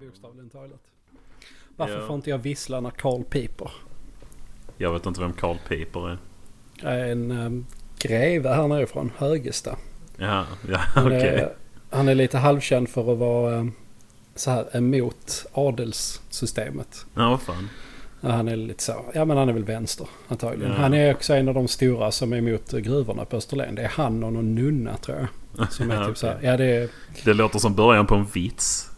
bokstavligen talat. Varför får inte jag vissla när Carl piper? Jag vet inte vem Carl Piper är. En um, greve här nerifrån, Högesta. Ja, ja Han, okej. är, han är lite halvkänd för att vara eh, så här emot adelssystemet. Ja, vad fan. Ja, Han är lite så, ja men han är väl vänster antagligen. Ja. Han är också en av de stora som är emot gruvorna på Österlen. Det är han och någon nunna tror jag. Som är Ja, typ så här, okej. ja det är... Det låter som början på en vits.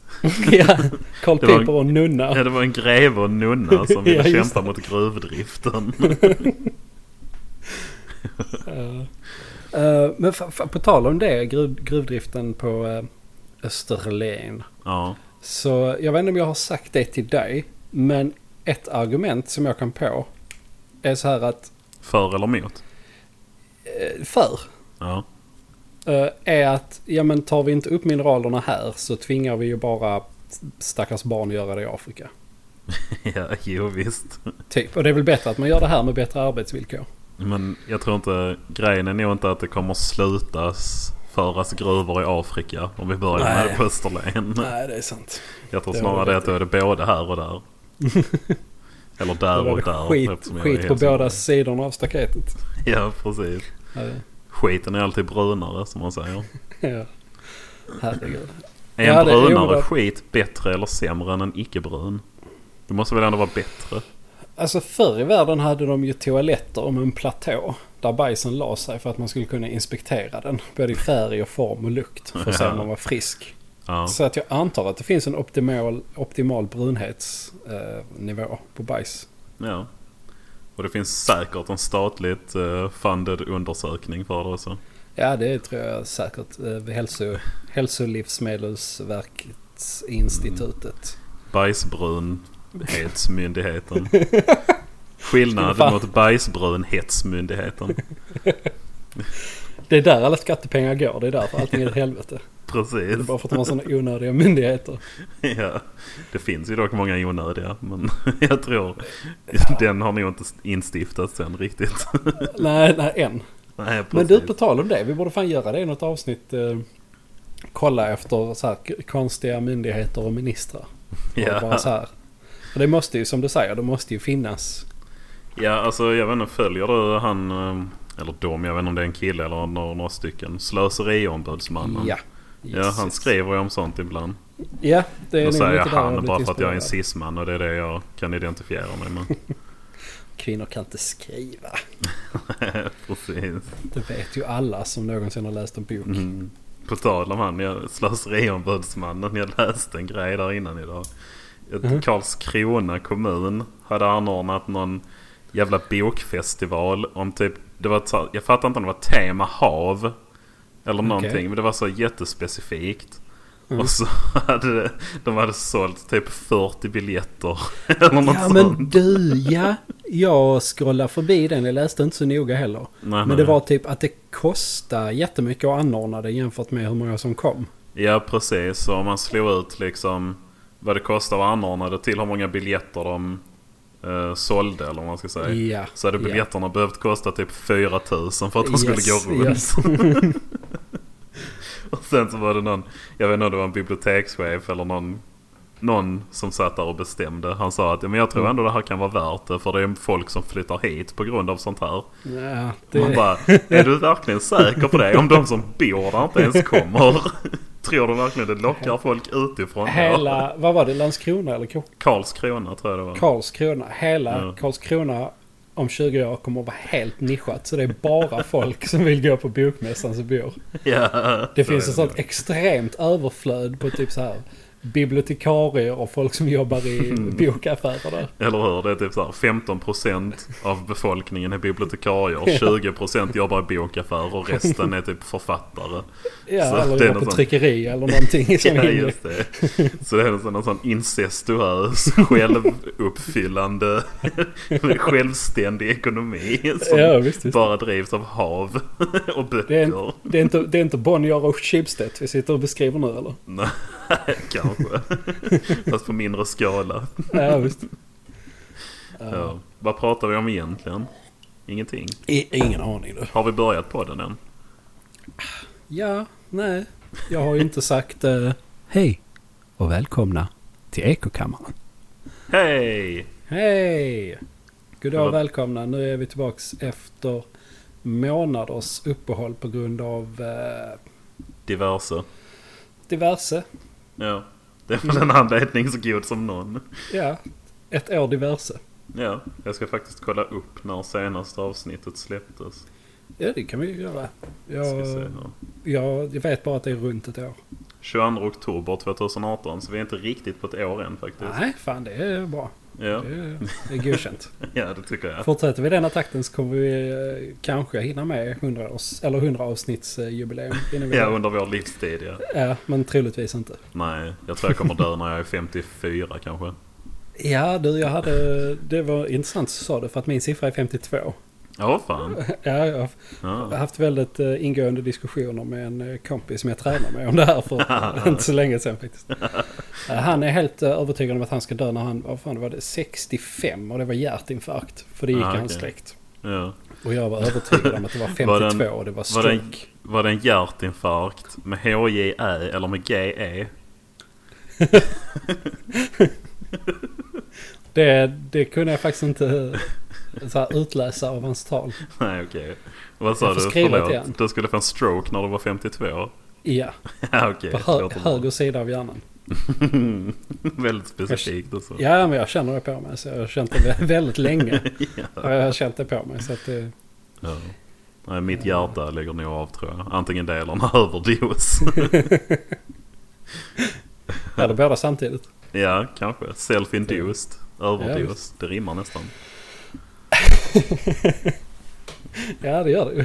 ja, Carl Det var en- Piper och nunna. Ja, det var en greve och en nunna som ville Ja, just kämpa mot gruvdriften. Eh, eh, men fa- fa- på tal om det, gruv, gruvdriften på eh, Österlen. ja. Så jag vet inte om jag har sagt det till dig. Men ett argument som jag kan på är så här att För eller emot? eh, för Ja. eh, är att ja men tar vi inte upp mineralerna här så tvingar vi ju bara stackars barn att göra det i Afrika. ja, jo visst. Typ. Och det är väl bättre att man gör det här med bättre arbetsvillkor. Men jag tror inte, grejen är nog inte att det kommer slutas föras gruvor i Afrika om vi börjar Nej. med på Österlen. Nej, det är sant. Jag tror Det snarare har du det rätt att då är det både här och där. Eller där Då var och det där. skit, eftersom jag är skit på Helsingborg. båda sidorna av staketet. Ja, precis. Ja, det- Skiten är alltid brunare som man säger. Ja. Herregud. Är Ja, en det- jo, men brunare det- skit bättre eller sämre än en icke-brun? Det måste väl ändå vara bättre? Alltså förr i världen hade de ju toaletter om en platå. Där bajsen la sig för att man skulle kunna inspektera den. Både i färg och form och lukt. För att se om man var frisk. Ja. Så att jag antar att det finns en optimal, optimal brunhetsnivå på bajs. ja. Och det finns säkert en statligt eh, funded undersökning för det också. Ja, det tror jag säkert. eh, vid Hälso, Hälsolivsmedelsverkets institutet. Bajsbrunhetsmyndigheten. Fan. Skillnad mot bajsbrunhetsmyndigheten. Det är där alla skattepengar går. Det är därför allting är ett helvete. Det är Precis. bara för att de har sådana onödiga myndigheter. Ja, det finns ju dock många onödiga men jag tror den har nog inte instiftats än riktigt. Nej, nej, än. Nej, Men precis. du, på tal om det. Vi borde fan göra det i något avsnitt. Eh, kolla efter så här, k- konstiga myndigheter och ministrar. Och bara ja. så här. Och det måste ju, som du säger, det måste ju finnas. ja, alltså jag vet inte, följer du han, eh, eller dom, jag vet inte om det är en kille eller några, några stycken, slöseriombudsmannen? Ja. Ja, han skriver ju om sånt ibland. Ja, det är Då nog säger jag lite där har han blivit bara för att jag är en inspirerad. cisman och det är det jag kan identifiera mig med. Kvinnor kan inte skriva. Precis. Det vet ju alla som någonsin har läst en bok. Mm. På tal om han, jag- slöseriombudsmannen. Jag läste en grej där innan idag. Att Mhm. Karlskrona kommun hade anordnat någon jävla bokfestival om typ... Det var ett, så här- jag fattar inte om det var tema hav eller någonting. Men det var så jättespecifikt. Mm. Och så hade det- de hade sålt typ 40 biljetter. Eller något Ja sånt. men du ja, jag scrollade förbi den, jag läste inte så noga heller. Nej, Men nej, det nej. var typ att det kostade jättemycket att anordna det jämfört med hur många som kom. Ja precis, så om man slår ut liksom vad det kostar att anordna det till hur många biljetter de eh, sålde eller vad man ska säga. Ja, Så hade ja. biljetterna behövt kosta typ 4000 för att de skulle Yes, gå runt. yes. och sen så var det någon, jag vet inte om det var en bibliotekschef eller någon, någon som satt där och bestämde. Han sa att "Ja, men jag Mm. tror ändå det här kan vara värt det för det är folk som flyttar hit på grund av sånt här. Ja, Man det, bara, är du verkligen säker på det? Om de som bor där inte ens kommer. Tror du verkligen det lockar folk utifrån? då? hela, vad var det, Landskrona eller Kar- Karlskrona tror jag det var. Karlskrona? Hela Ja. Karlskrona om 20 år kommer att vara helt nischat. Så det är bara folk som vill gå på bokmässan som bor. ja, Det så finns är ett sånt extremt överflöd på typ så här bibliotekarier och folk som jobbar i Mm. bokaffärer där. Eller hur? Det är typ så här 15% av befolkningen är bibliotekarier, 20% jobbar i bokaffärer och resten är typ författare. Så Ja, eller det är jobbar något på sånt. tryckeri eller någonting. i sån Ja, linje. just det. Så det är en sån, en sån incestuös, självuppfyllande, självständig ekonomi som Ja, visst, visst. bara drivs av hav och böcker. Det, är en, det, är inte, det är inte Bonnier och Schibsted vi sitter och beskriver nu eller? Nej, kanske. Fast på mindre skala. Ja, visst. Ja. Vad pratar vi om egentligen? Ingenting. I, ingen aning du. Har vi börjat podden än? Ja, nej. Jag har ju inte sagt eh, hej och välkomna till Ekokammaren. Hej! Hej! Goddag Hallå. och välkomna. Nu är vi tillbaks efter månaders uppehåll på grund av eh, Diverse. diverse. Ja. Det var en anledning så god som någon. Ja, ett år diverse. Ja, jag ska faktiskt kolla upp när senaste avsnittet släpptes. Ja, det kan vi ju göra. Ska se Jag, här. jag, jag vet bara att det är runt ett år. 22 oktober 2018, så vi är inte riktigt på ett år än faktiskt. Nej, fan det är bra. Ja, Det är, det är godkänt. ja det tycker jag. Fortsätter vi i denna takten så kommer vi eh, kanske hinna med 100, års, eller 100 avsnittsjubileum. Innan vi Ja, under vår livstid ja. ja, men troligtvis inte. Nej, jag tror jag kommer dö när jag är 54 kanske. Ja, du, jag hade... Det var intressant så sa du, för att min siffra är 52. Ja, fan. Ja, jag har Ja. haft väldigt eh, ingående diskussioner med en eh, kompis som jag tränar med om det här för inte så länge sedan faktiskt. Eh, Han är helt eh, övertygad om att han ska dö när han... Vad fan det var det? 65 och det var hjärtinfarkt. För det gick Ah, okej. hans släkt. Ja. Och jag var övertygad om att det var 52 Var den- och det var var den- stroke. Var det en hjärtinfarkt med HJE eller med E? GE? Det, det kunde jag faktiskt inte eh, så här, utläsa av hans tal. Nej, okej. Vad sa Jag får du? skriva Förlåt. till han. Du skulle få en stroke när du var 52? Ja, Ja, okej. på hö- Låter bra. höger sida av hjärnan. Väldigt specifikt och så. Ja, men jag känner det på mig. Så jag har känt det vä- väldigt länge. Och jag har känt det på mig. Så att det, Ja. Nej, mitt hjärta lägger nog av tror jag. Antingen det eller en överdos. eller båda samtidigt. ja, kanske. Self-induced. Överdos. Det rimmar nästan. Ja, det gör det ju.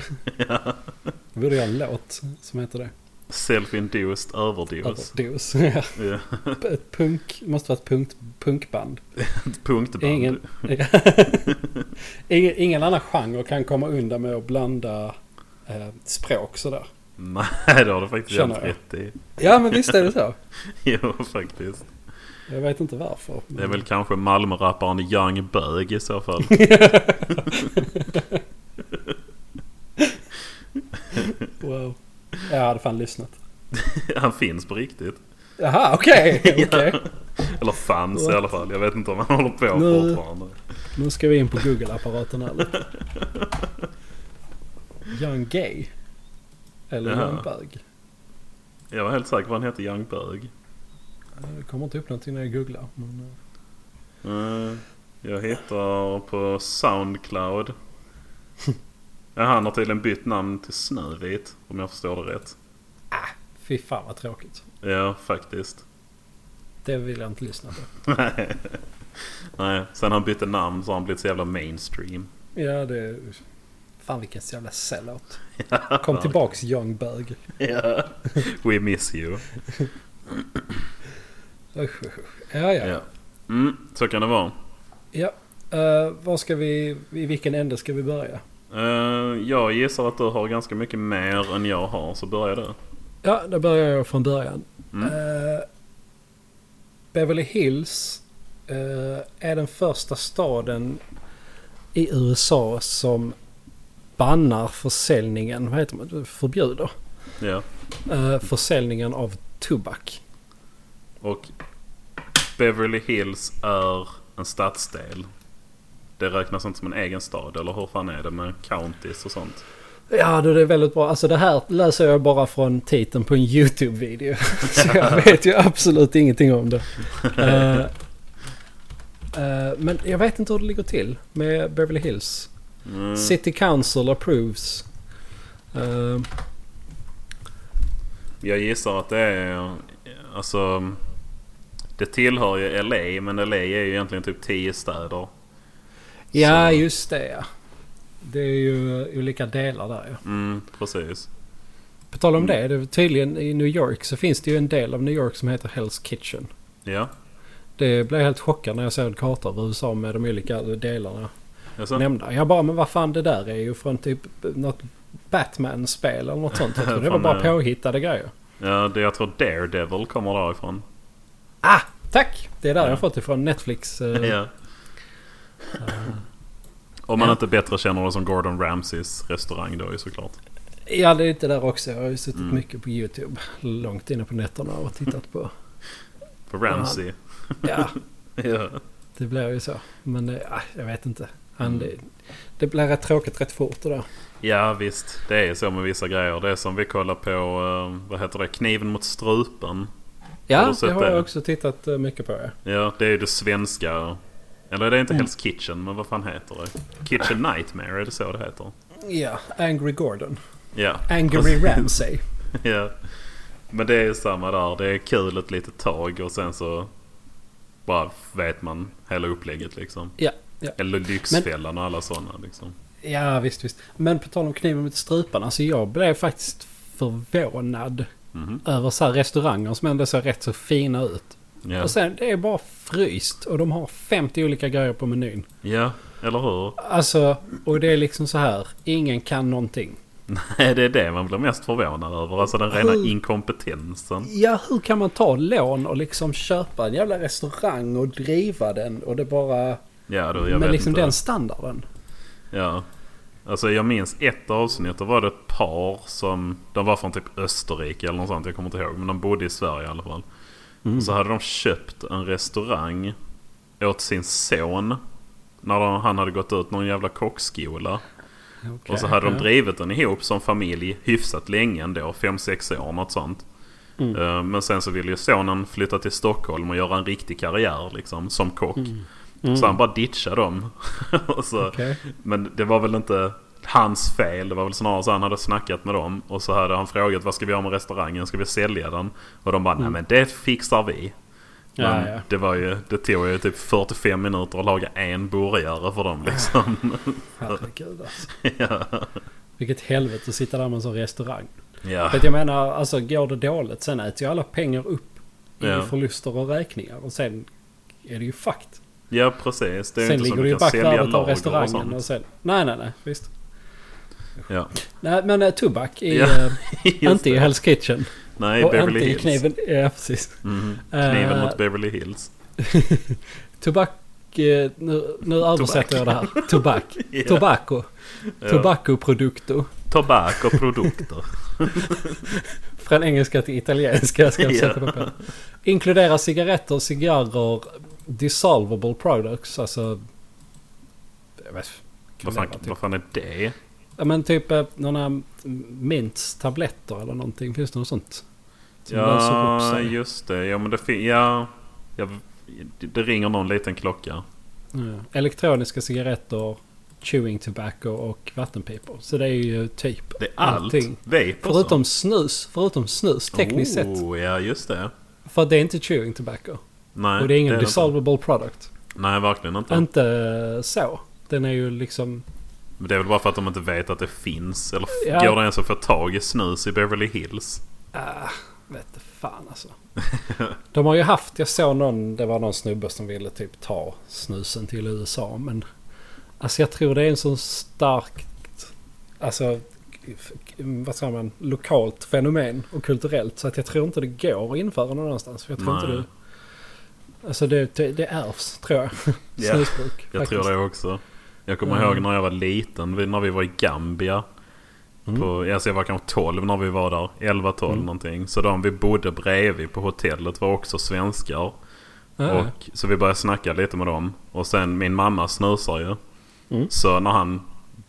Det borde jag ha en låt som heter det. Self-induced överdos. Överdos. Ja, Ja. Ett punk, måste vara ett punkt, punkband. Punktband. Ingen, ingen, ingen annan genre kan komma undan med att blanda eh, språk sådär. Nej, det har du faktiskt Känner helt rätt i. Ja, men visst är det så. Jo, faktiskt. Jag vet inte varför. Det är väl kanske Malmö-rapparen Young Bög i så fall. Wow. Jag hade fan lyssnat. Han finns på riktigt. Jaha, okej. okej. Eller fanns i alla fall. Jag vet inte om han håller på Nu- fortfarande. Nu ska vi in på Google-apparaten här lite. Young Gay. Eller Jaha. Young Bög. Jag var helt säker på att han hette Young Bög. Det kommer inte upp någonting när jag googlar. Men, eh, Eh, Jag hittar på Soundcloud. Ja, han har tydligen bytt namn till Snövit. Om jag förstår det rätt. fy fan vad tråkigt. Ja, faktiskt. Det vill jag inte lyssna på. Nej, sen han bytte namn så har han blivit så jävla mainstream. Ja, det... är- Fan vilken jävla sellout. Kom tillbaks Young Bög. Ja. We miss you. Usch, usch, usch. Ja, ja. Ja. Mm, så kan det vara. ja. Eh, var ska vi... I vilken ände ska vi börja? Eh, jag gissar att du har ganska mycket mer än jag har, så börja du. Ja, då börjar jag från början. Mm. Eh, Beverly Hills eh, är den första staden i USA som bannar försäljningen, vad heter man, förbjuder Ja. eh, försäljningen av tobak. Och Beverly Hills är en stadsdel. Det räknas inte som en egen stad, eller hur fan är det med counties och sånt? Ja, du, det är väldigt bra. Alltså det här läser jag bara från titeln på en YouTube-video. Så jag vet ju absolut ingenting om det. Eh, eh, men jag vet inte hur det ligger till med Beverly Hills. Mm. City Council approves. Eh, Jag gissar att det är... Alltså... Det tillhör ju LA, men LA är ju egentligen typ 10 städer. ja, Så- just det ja. Det är ju eh, olika delar där ja. Mm, precis. På tal Mm. om det, det är tydligen i New York så finns det ju en del av New York som heter Hell's Kitchen. Ja. Det blev jag helt chockad när jag såg en karta över USA med de olika delarna Alltså, nämnda. Jag bara, men vad fan det där är ju från typ något Batman-spel eller något sånt. Jag trodde det var Fan, bara ja. påhittade grejer. ja, det jag tror Daredevil kommer därifrån. Ah, tack! Det är där Ja. jag har fått ifrån Netflix. eh, Ja. Om man inte bättre känner det som Gordon Ramsays restaurang då ju såklart. Ja, det är inte där också. Jag har ju suttit Mm. mycket på YouTube. Långt inne på nätterna och tittat på på Ramsey. Ja, ja. det blir ju så. Men det, ah, jag vet inte. Mm. Han, det, det blir rätt tråkigt rätt fort det där. ja, visst. Det är så med vissa grejer. Det är som vi kollar på, eh, vad heter det, Kniven mot strupen. Har Ja, du sett det har det? jag också tittat eh, mycket på. Ja. Ja, det är ju det svenska. Eller det Mm. är inte Hell's Kitchen, men vad fan heter det? Kitchen Nightmare, är det så det heter? ja, Angry Gordon. Ja. Angry Precis. Ramsay. ja. Men det är ju samma där. Det är kul ett litet tag och sen så bara vet man hela upplägget liksom. Ja, ja. Eller Lyxfällan och alla sådana liksom. Ja, visst, visst. Men på tal om kniven mot strupen, alltså jag blev faktiskt förvånad Mhm. över så här restauranger som ändå ser rätt så fina ut. Ja. Och sen, det är bara fryst och de har 50 olika grejer på menyn. ja, eller hur? Alltså, och det är liksom så här, ingen kan någonting. Nej, det är det man blir mest förvånad över. Alltså den rena Hur- inkompetensen. Ja, hur kan man ta lån och liksom köpa en jävla restaurang och driva den och det bara... Ja, du, jag men vet liksom inte. den standarden. Ja. Alltså jag minns ett avsnitt. Då var det ett par som... De var från typ Österrike eller något sånt. Jag kommer inte ihåg. Men de bodde i Sverige i alla fall. Så hade de köpt en restaurang åt sin son. När de, han hade gått ut någon jävla kockskola. Och så hade de drivit den ihop som familj hyfsat länge ändå. fem sex år något sånt. Mm. Eh, Men sen så ville ju sonen flytta till Stockholm och göra en riktig karriär liksom som kock. Så han bara ditchade dem. och så, Mm. Okej. Men det var väl inte hans fel. Det var väl snarare så han hade snackat med dem. Och så hade han frågat vad ska vi göra med restaurangen? Ska vi sälja den? Och de bara nej men det fixar vi. Men Mm. Ja, ja. Det, var ju, det tog ju typ 45 minuter att laga en burgare för dem liksom. Herregud alltså. Vilket helvete att sitta där med en sån restaurang. ja. För att jag menar, alltså går det dåligt sen äter ju alla pengar upp i Ja. förluster och räkningar. Och sen är det ju fakt. ja precis. Det är ju Sen inte ligger som det ju du i kan sälja backvärdet lager av och restaurangen sånt. och, sen... Nej, nej, nej. Visst. Ja. Nej, men eh, tobak i... Ja, eh, Just inte i det. Hell's Kitchen. Nej, och Beverly inte i Hills. kniven... Ja, precis. Mhm. Kniven Eh, mot Beverly Hills. Tobak... eh, Nu, nu översätter jag det här. Tobak. Ja. Tobacco. Ja. Tobaccoprodukter. Eh, Tobak och produkter. Från engelska till italienska ska jag Ja. sätta på. Inkludera cigaretter, cigarrer, dissolvable products, alltså... Jag vet vad, fan, inte. vad fan är det? Ja men typ eh, några mintstabletter eller någonting. Finns det något sånt? Som löser upp Ja, sig. just det. Ja, men det fin- ja, ja, det- det ringer någon liten klocka. Ja. Elektroniska cigaretter, chewing tobacco och vattenpipor. Så det är ju typ Det är allt. allting. Vape och Förutom snus, förutom snus tekniskt oh, sett. Ja, just det. För att det är inte chewing tobacco. Nej, och det är ingen inte. dissolvable product. Nej, verkligen inte. Inte så. Den är ju liksom... Men det är väl bara för att de inte vet att det finns. Eller f- Ja. går det ens att få tag i snus i Beverly Hills? Ah, vet du fan alltså. De har ju haft, jag såg någon, det var någon snubbe som ville typ ta snusen till USA. Men alltså jag tror det är en sån starkt, alltså f- vad säger man, lokalt fenomen och kulturellt. Så att jag tror inte det går att införa någon annanstans. För jag tror Nej. inte det, alltså det, det, det ärvs tror jag. Ja, Snusbruk. Jag tror det också. Jag kommer Mm. ihåg när jag var liten, vi- när vi var i Gambia. Mm. På, alltså jag var kanske 12 när vi var där. 11-12 någonting. Så de vi bodde bredvid på hotellet var också svenskar. Ja, Och, så vi började snacka lite med dem. Och sen min mamma snusar ju. Mm. Så när han,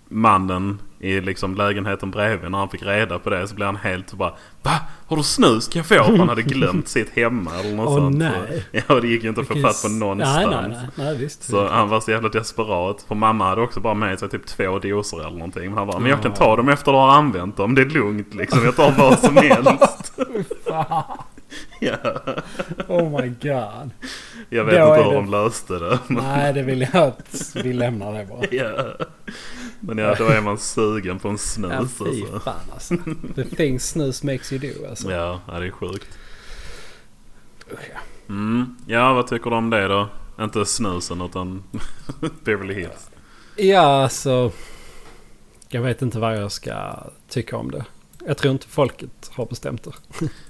mannen i liksom lägenheten bredvid, när han fick reda på det så blev han helt bara Va? Har du snus? Kan jag få? För han hade glömt sitt hemma eller något Åh, sånt. nej. Så, ja, det gick ju inte att få fatt på Nej, någonstans. nej, nej, nej visst. Så han var så jävla desperat. För mamma hade också bara med sig typ två doser eller någonting. Men han bara, men jag kan ta dem efter att du har använt dem. Det är lugnt liksom. Jag tar vad som helst. ja, Oh my god. jag vet Då inte är det- hur de löste det. Men, Nej, det vill jag att vi lämnar det bara. ja. men ja, då är man sugen på en snus. Ja, fy alltså. fan alltså. The things snus makes you do alltså. ja, ja, det är sjukt. Usch, ja. Mm. Ja, vad tycker du om det då? Inte snusen utan Beverly Hills. Ja, alltså. Jag vet inte vad jag ska tycka om det. Jag tror inte folket har bestämt det.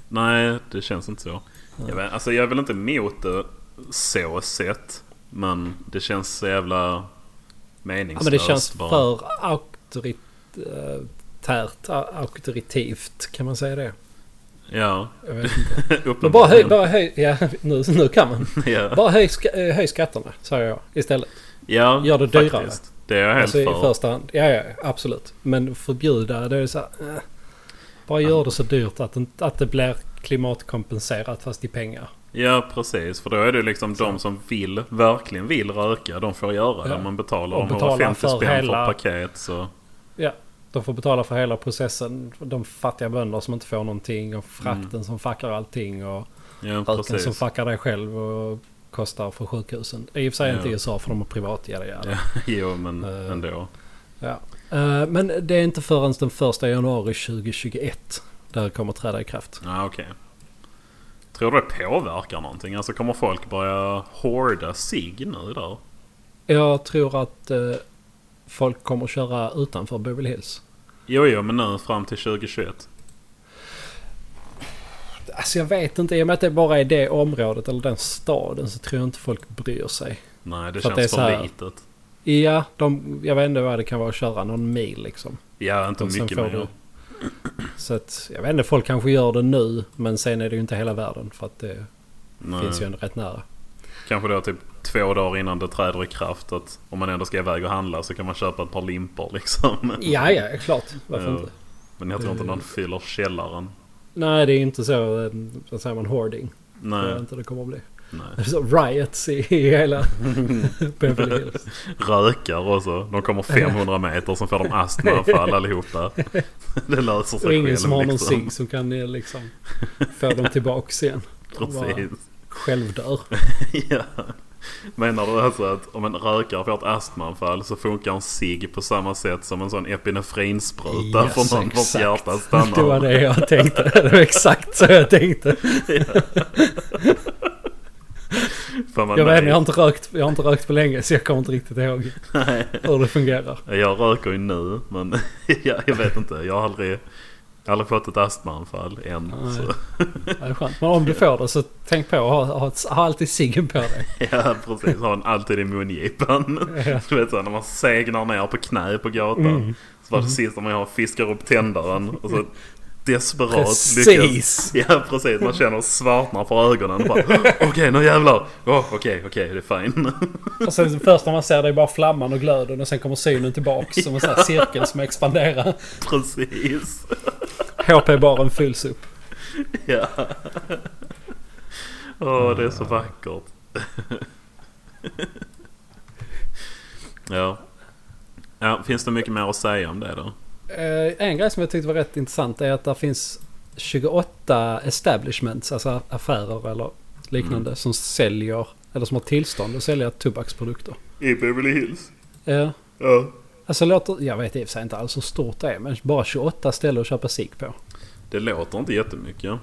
Nej, det känns inte så. Jag, vet, alltså, jag är väl inte emot det så sett. Men det känns så jävla Ja, meningslöst men det känns bara. för eh, auktoritärt, auktoritivt. Kan man säga det? Ja. Jag vet inte. Men bara höj, Uppenbarligen. bara höj, ja, nu, nu kan man. ja. Bara höj, ska, eh, höj skatterna, säger jag istället. ja, gör det dyrare. faktiskt. Det är jag helt Alltså i för. första hand. Ja, ja, absolut. Men förbjuda, det är så här, eh. Bara gör det så dyrt att, det- att det blir klimatkompenserat fast i pengar. Ja, precis. För då är det liksom de som vill, verkligen vill röka, de får göra Ja. det. Man betalar Och om betalar 150 för spänn hela- för ett paket. Så. Ja, de får betala för hela processen. De fattiga bönder som inte får någonting och frakten som fuckar allting och Ja, röken som Mm. precis. fuckar dig själv och kostar för sjukhusen. I och för sig Ja. inte i USA för de har privat. Jada, jada. Ja, jo, men Eh. ändå. Ja. Eh, Men det är inte förrän den första januari 2021 det här kommer träda i kraft. Ja, okej. Tror du det påverkar någonting? Alltså kommer folk börja hårda sig nu där? Jag tror att eh, folk kommer köra utanför Beverly Hills. Jo, jo, men nu fram till 2021. Alltså jag vet inte, i och med att det bara är det området eller den staden så tror jag inte folk bryr sig. Nej, det För att känns det är så här- för litet. Ja, de, jag vet inte vad det kan vara att köra någon mil liksom. Ja, inte Och sen mycket får mer. du- Så att, jag vet inte, folk kanske gör det nu men sen är det ju inte hela världen för att det Nej. finns ju ändå rätt nära. Kanske då typ två dagar innan det träder i kraft att om man ändå ska iväg och handla så kan man köpa ett par limpor liksom. Ja, ja, klart. Varför Ja. inte? Men jag tror inte någon fyller källaren. Nej, det är ju inte så, eh, vad säger man, hoarding. Det tror Nej, jag inte det kommer att bli. nej. Det är så riots i i hela Beverly Hills. Rökar också. De kommer 500 meter, sen får de astmaanfall allihopa. Det löser sig Och ingen själv, som har någon liksom. cigg som kan eh, liksom få dem tillbaks igen. De bara Precis. självdör. Ja. Menar du alltså att om en rökare får ett astmaanfall så funkar en cigg på samma sätt som en sån epinefrinspruta Yes, för någon vars exakt. hjärta stannar? Det var det jag tänkte. Det var exakt så jag tänkte. Fan, vad Jag vet inte, nej. jag har inte rökt, jag har inte rökt på länge så jag kommer inte riktigt ihåg hur det fungerar. Jag röker ju nu men jag, jag vet inte. Jag har aldrig, aldrig fått ett astmaanfall än. Nej. Så. Ja, Det är skönt. Men om du får det så tänk på att ha, ha, ett- ha alltid ciggen på dig. Ja precis, har en alltid i mungipan. Ja. Mm. Du vet så här, när man segnar ner på knä på gatan. Så var det sista man gör, fiskar upp tändaren och så desperat Precis. Ja precis, man känner svartnar för ögonen och bara okej nu jävlar. Åh, Okej okej det är fine. Och sen först när man ser det är bara flamman och glöden och sen kommer synen tillbaks som en sån här cirkel som expanderar. precis. HP-baren fylls upp. Ja. Åh det är Ah. så vackert. ja. ja. Finns det mycket mer att säga om det då? Eh, en grej som jag tyckte var rätt intressant är att det finns 28 establishments, alltså affärer eller liknande, Mm. som säljer, eller som har tillstånd att sälja tobaksprodukter. I Beverly Hills? Eh, Ja. alltså låter, jag vet i och för sig inte alls hur stort det är, men bara 28 ställen att köpa cigg på. Det låter inte jättemycket. Man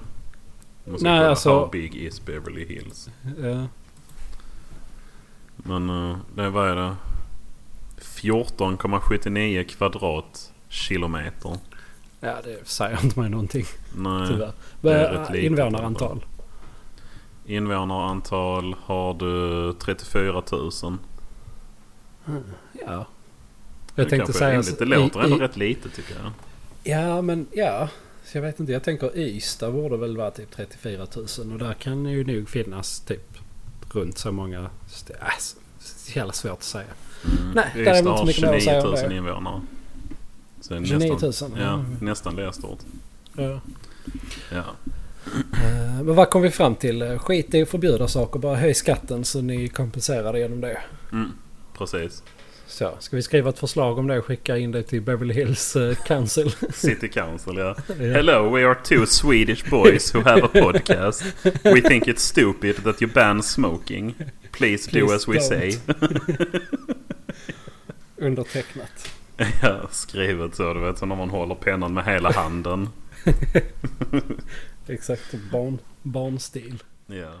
Nej, kolla alltså- How big is Beverly Hills? Eh, Men eh, det, vad är det? 14,79 kvadratkilometer. ja, det säger inte mig någonting Nej. tyvärr. det är Men, rätt eh, litet Invånarantal. Invånarantal har du 34 000. Ja. Jag Det tänkte kanske är säga... alltså, rimligt. Det låter i, ändå i, rätt lite tycker jag. Ja, men ja. Så jag vet inte. Jag tänker Ystad borde väl vara typ 34 000 och där kan ju nog finnas typ runt så många... st- Äh, s- s- jävla svårt att säga. Nej, där är väl Ystad inte Mm. har mycket mer att säga 29 om 000 det. invånare. Så det är 29 000, Nästan, ja, ja. nästan det stort. Ja. Ja. Eh, Men vad kom vi fram till? Eh, Skit i att förbjuda saker, bara höj skatten så ni kompenserar det genom det. Mm, precis. Så, ska vi skriva ett förslag om det och skicka in det till Beverly Hills eh, Council? City Council ja. Ja. Hello, we are two Swedish boys who have a podcast. We think it's stupid that you ban smoking. Please, do Please as we say. Undertecknat. ja, skrivet så du vet. Så när man håller pennan med hela handen. Exakt, barn, barnstil. Ja.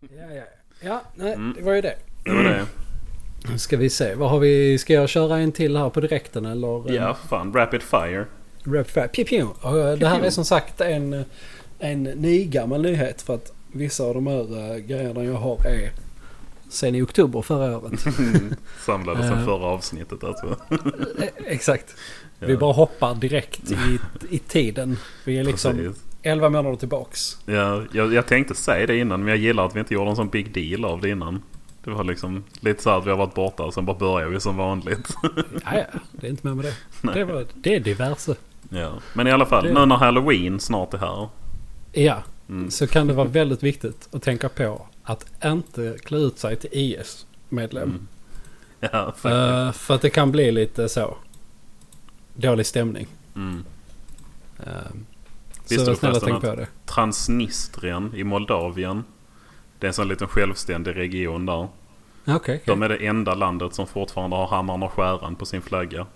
Ja, ja. ja nej, Mm. det var ju det. Det var Mm. det. Nu ska vi se. Vad har vi? Ska jag köra en till här på direkten eller? eh, Ja, fan. Rapid fire. Rap Fire? Pew, pew. Och, eh, Det här Pew, pew. är som sagt en, en nygammal nyhet för att vissa av de här eh, grejerna jag har är sen i oktober förra året. Samlade Eh. sen förra avsnittet alltså. Exakt. Vi bara hoppar direkt i, i tiden. Vi är liksom Precis. 11 månader tillbaks. Ja, jag, jag tänkte säga det innan men jag gillar att vi inte gjorde en sån big deal av det innan. Det var liksom lite så här att vi har varit borta och sen bara börjar vi som vanligt. Ja, ja, det är inte med med det. Det, var, det är diverse. ja. Men i alla fall, Det- nu när halloween snart är här. Ja, Mm. så kan det vara väldigt viktigt att tänka på att inte klä ut sig till IS-medlem. Mm. Ja, faktiskt. Eh, för att det kan bli lite så dålig stämning. Mm. Eh, Visste så du snälla förresten tänk på det. Transnistrien i Moldavien. Det är en sån liten självständig region där. Ja, Ah, Okej, okej. De är det enda landet som fortfarande har hammaren och skäran på sin flagga.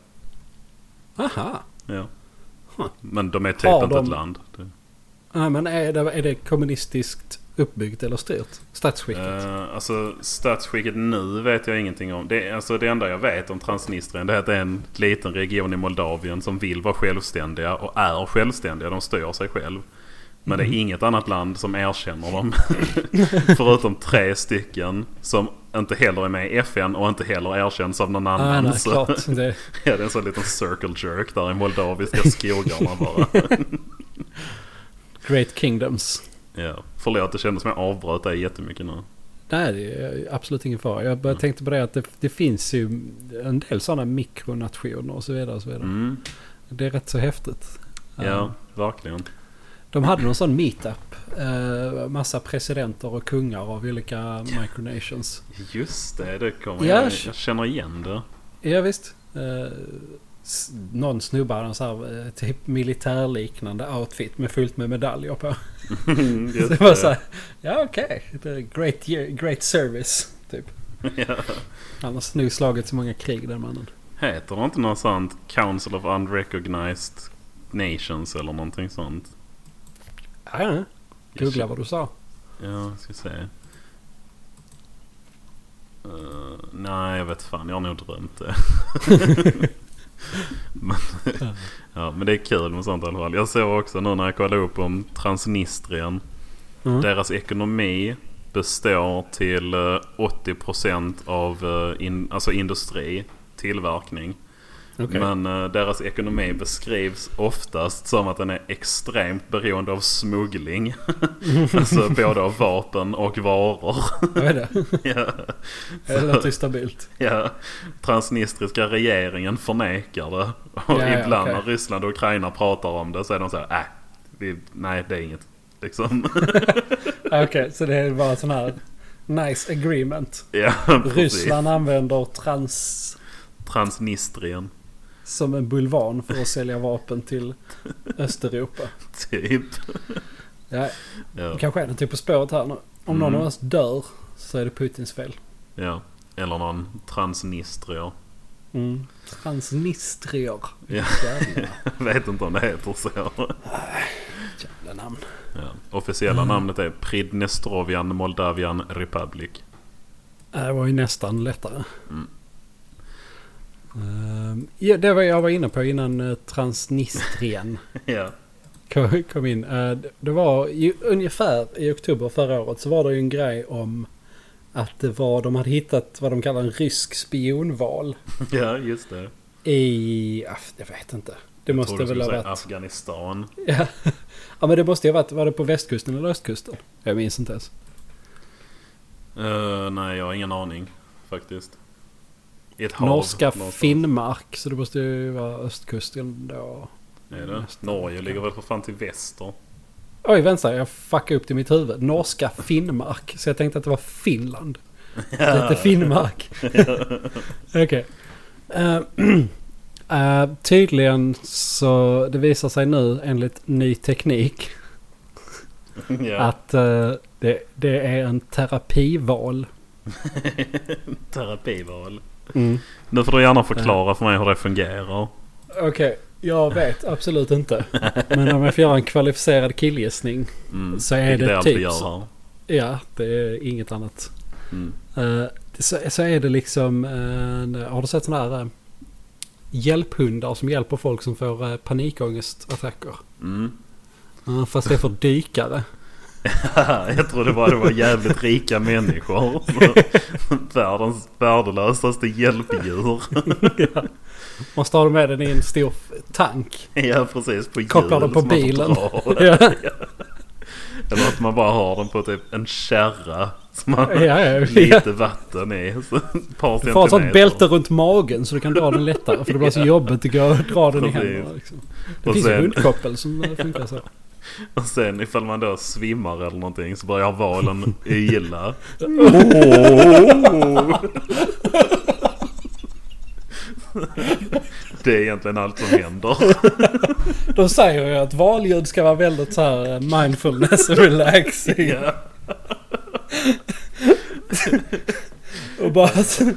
Aha. Ja. Huh. Men de är typ Har inte de- ett land. Det- Ja, men är det, är det kommunistiskt uppbyggt eller styrt? Statsskicket? Eh, alltså statsskicket nu vet jag ingenting om. Det, alltså, det enda jag vet om Transnistrien det är att det är en liten region i Moldavien som vill vara självständiga och är självständiga. De styr sig själv. Men Mm. det är inget annat land som erkänner dem. Förutom tre stycken som inte heller är med i FN och inte heller erkänns av någon ah, annan. nej, Så- klart. Det, ja, det är en sån liten circle jerk där i moldaviska skogarna bara. great Kingdoms. Ja. Förlåt, det kändes som jag avbröt dig jättemycket nu. Nej, det är absolut ingen fara. Jag bara Mm. tänkte på det att det, det finns ju en del sådana mikronationer och så vidare. Och så vidare. Mm. Det är rätt så häftigt. Eh, Ja, verkligen. De hade någon sån meetup. Eh, massa presidenter och kungar av olika micronations. Just det, det kommer Ja, jag, sh- jag känner igen det. Ja visst. Eh, s- någon snubbe hade en sån här eh, typ militärliknande outfit med fullt med medaljer på. Just Mm. Det var så här, ja okej. Det är Great, year- great service. Typ. Ja. Han har nu slagit så många krig den mannen. Heter det inte något sånt Council of Unrecognized Nations eller någonting sånt? Ja, googla vad du sa. Ja, jag ska se. Eh, nej, jag vet fan. Jag har nog drömt det. men, ja, men det är kul med sånt i alla fall. Jag såg också nu när jag kollade upp om Transnistrien. Mm. Deras ekonomi består till eh, 80% av eh, in, alltså industri, tillverkning. Okej. Men eh, deras ekonomi beskrivs oftast som att den är extremt beroende av smuggling. alltså både av vapen och varor. Vad är det? ja. Det låter ju stabilt. Ja, transnistriska regeringen förnekar det. Och Ja, ja, ibland okej. när Ryssland och Ukraina pratar om det så är de så här, äh, vi, nej det är inget. Liksom. Okej, så det är bara sån här nice agreement. ja, precis. Ryssland använder trans Transnistrien, som en bulvan för att sälja vapen till Östeuropa. typ. Ja, Ja, Mm. det kanske är något typ på spåret här nu. Om någon av oss dör så är det Putins fel. ja. Eller någon transnistrier. Mm. Transnistrier. Ja. Jävla, Jag vet inte om det heter så. jävla namn. Ja. Officiella namnet är Pridnestrovian Moldavian Republic. Ja, Det var ju nästan lättare. Mm. Ehm, ja, det var jag var inne på innan eh, Transnistrien Ja. kom- kom in. Eh, Det var ju ungefär i oktober förra året så var det ju en grej om att det var, de hade hittat vad de kallar en rysk spionval ja, just det. i, ah, jag vet inte. Det Tror måste du väl skulle ha säga varit... Afghanistan. Ja. ja men det måste ju ha varit, var det på västkusten eller östkusten? Jag minns inte ens. Eh, nej, jag har ingen aning faktiskt. I ett hav Norska någonstans. Finnmark, så det måste ju vara östkusten då. Är det? Norge ligger väl för fan till väster? Oj, vänta, jag fuckade upp det i mitt huvud. Norska Finnmark. Så jag tänkte att det var Finland. Ja. Lite Finnmark. Okej. Eh, eh, tydligen så det visar sig nu enligt ny teknik ja. att eh, det, det är en terapival. Terapival. Nu får du gärna förklara för mig hur det fungerar. Okej, jag vet absolut inte. Men om jag får göra en kvalificerad killgissning. Mm. Så är vilket det jag alltid typ gör så. här. Ja, det är inget annat. Mm. Eh, så, så är det liksom, eh, har du sett sådana här eh, hjälphundar som hjälper folk som får eh, panikångestattacker? Mm. Eh, fast det är för dykare. jag trodde bara det var jävligt rika människor. Världens värdelösaste hjälpdjur. ja. Måste ha med den i en stor tank. ja precis, på hjul. Kopplar den på som man får bilen. dra. Ja. Eller att man bara har den på typ en kärra. Som man Ja, ja, ja. lite vatten i. Så ett Du får ha par ett sånt centimeter. bälte runt magen så du kan dra den lättare. För det blir så jobbigt att gå och dra den i Precis. händerna. Liksom. Det Och finns ju sen- hundkoppel som eh, funkar så. Och sen ifall man då svimmar eller någonting så börjar valen yla. Oh. Det är egentligen allt som händer. De säger ju att valljud ska vara väldigt så här eh, mindfulness och relaxing. Ja. Och bara så,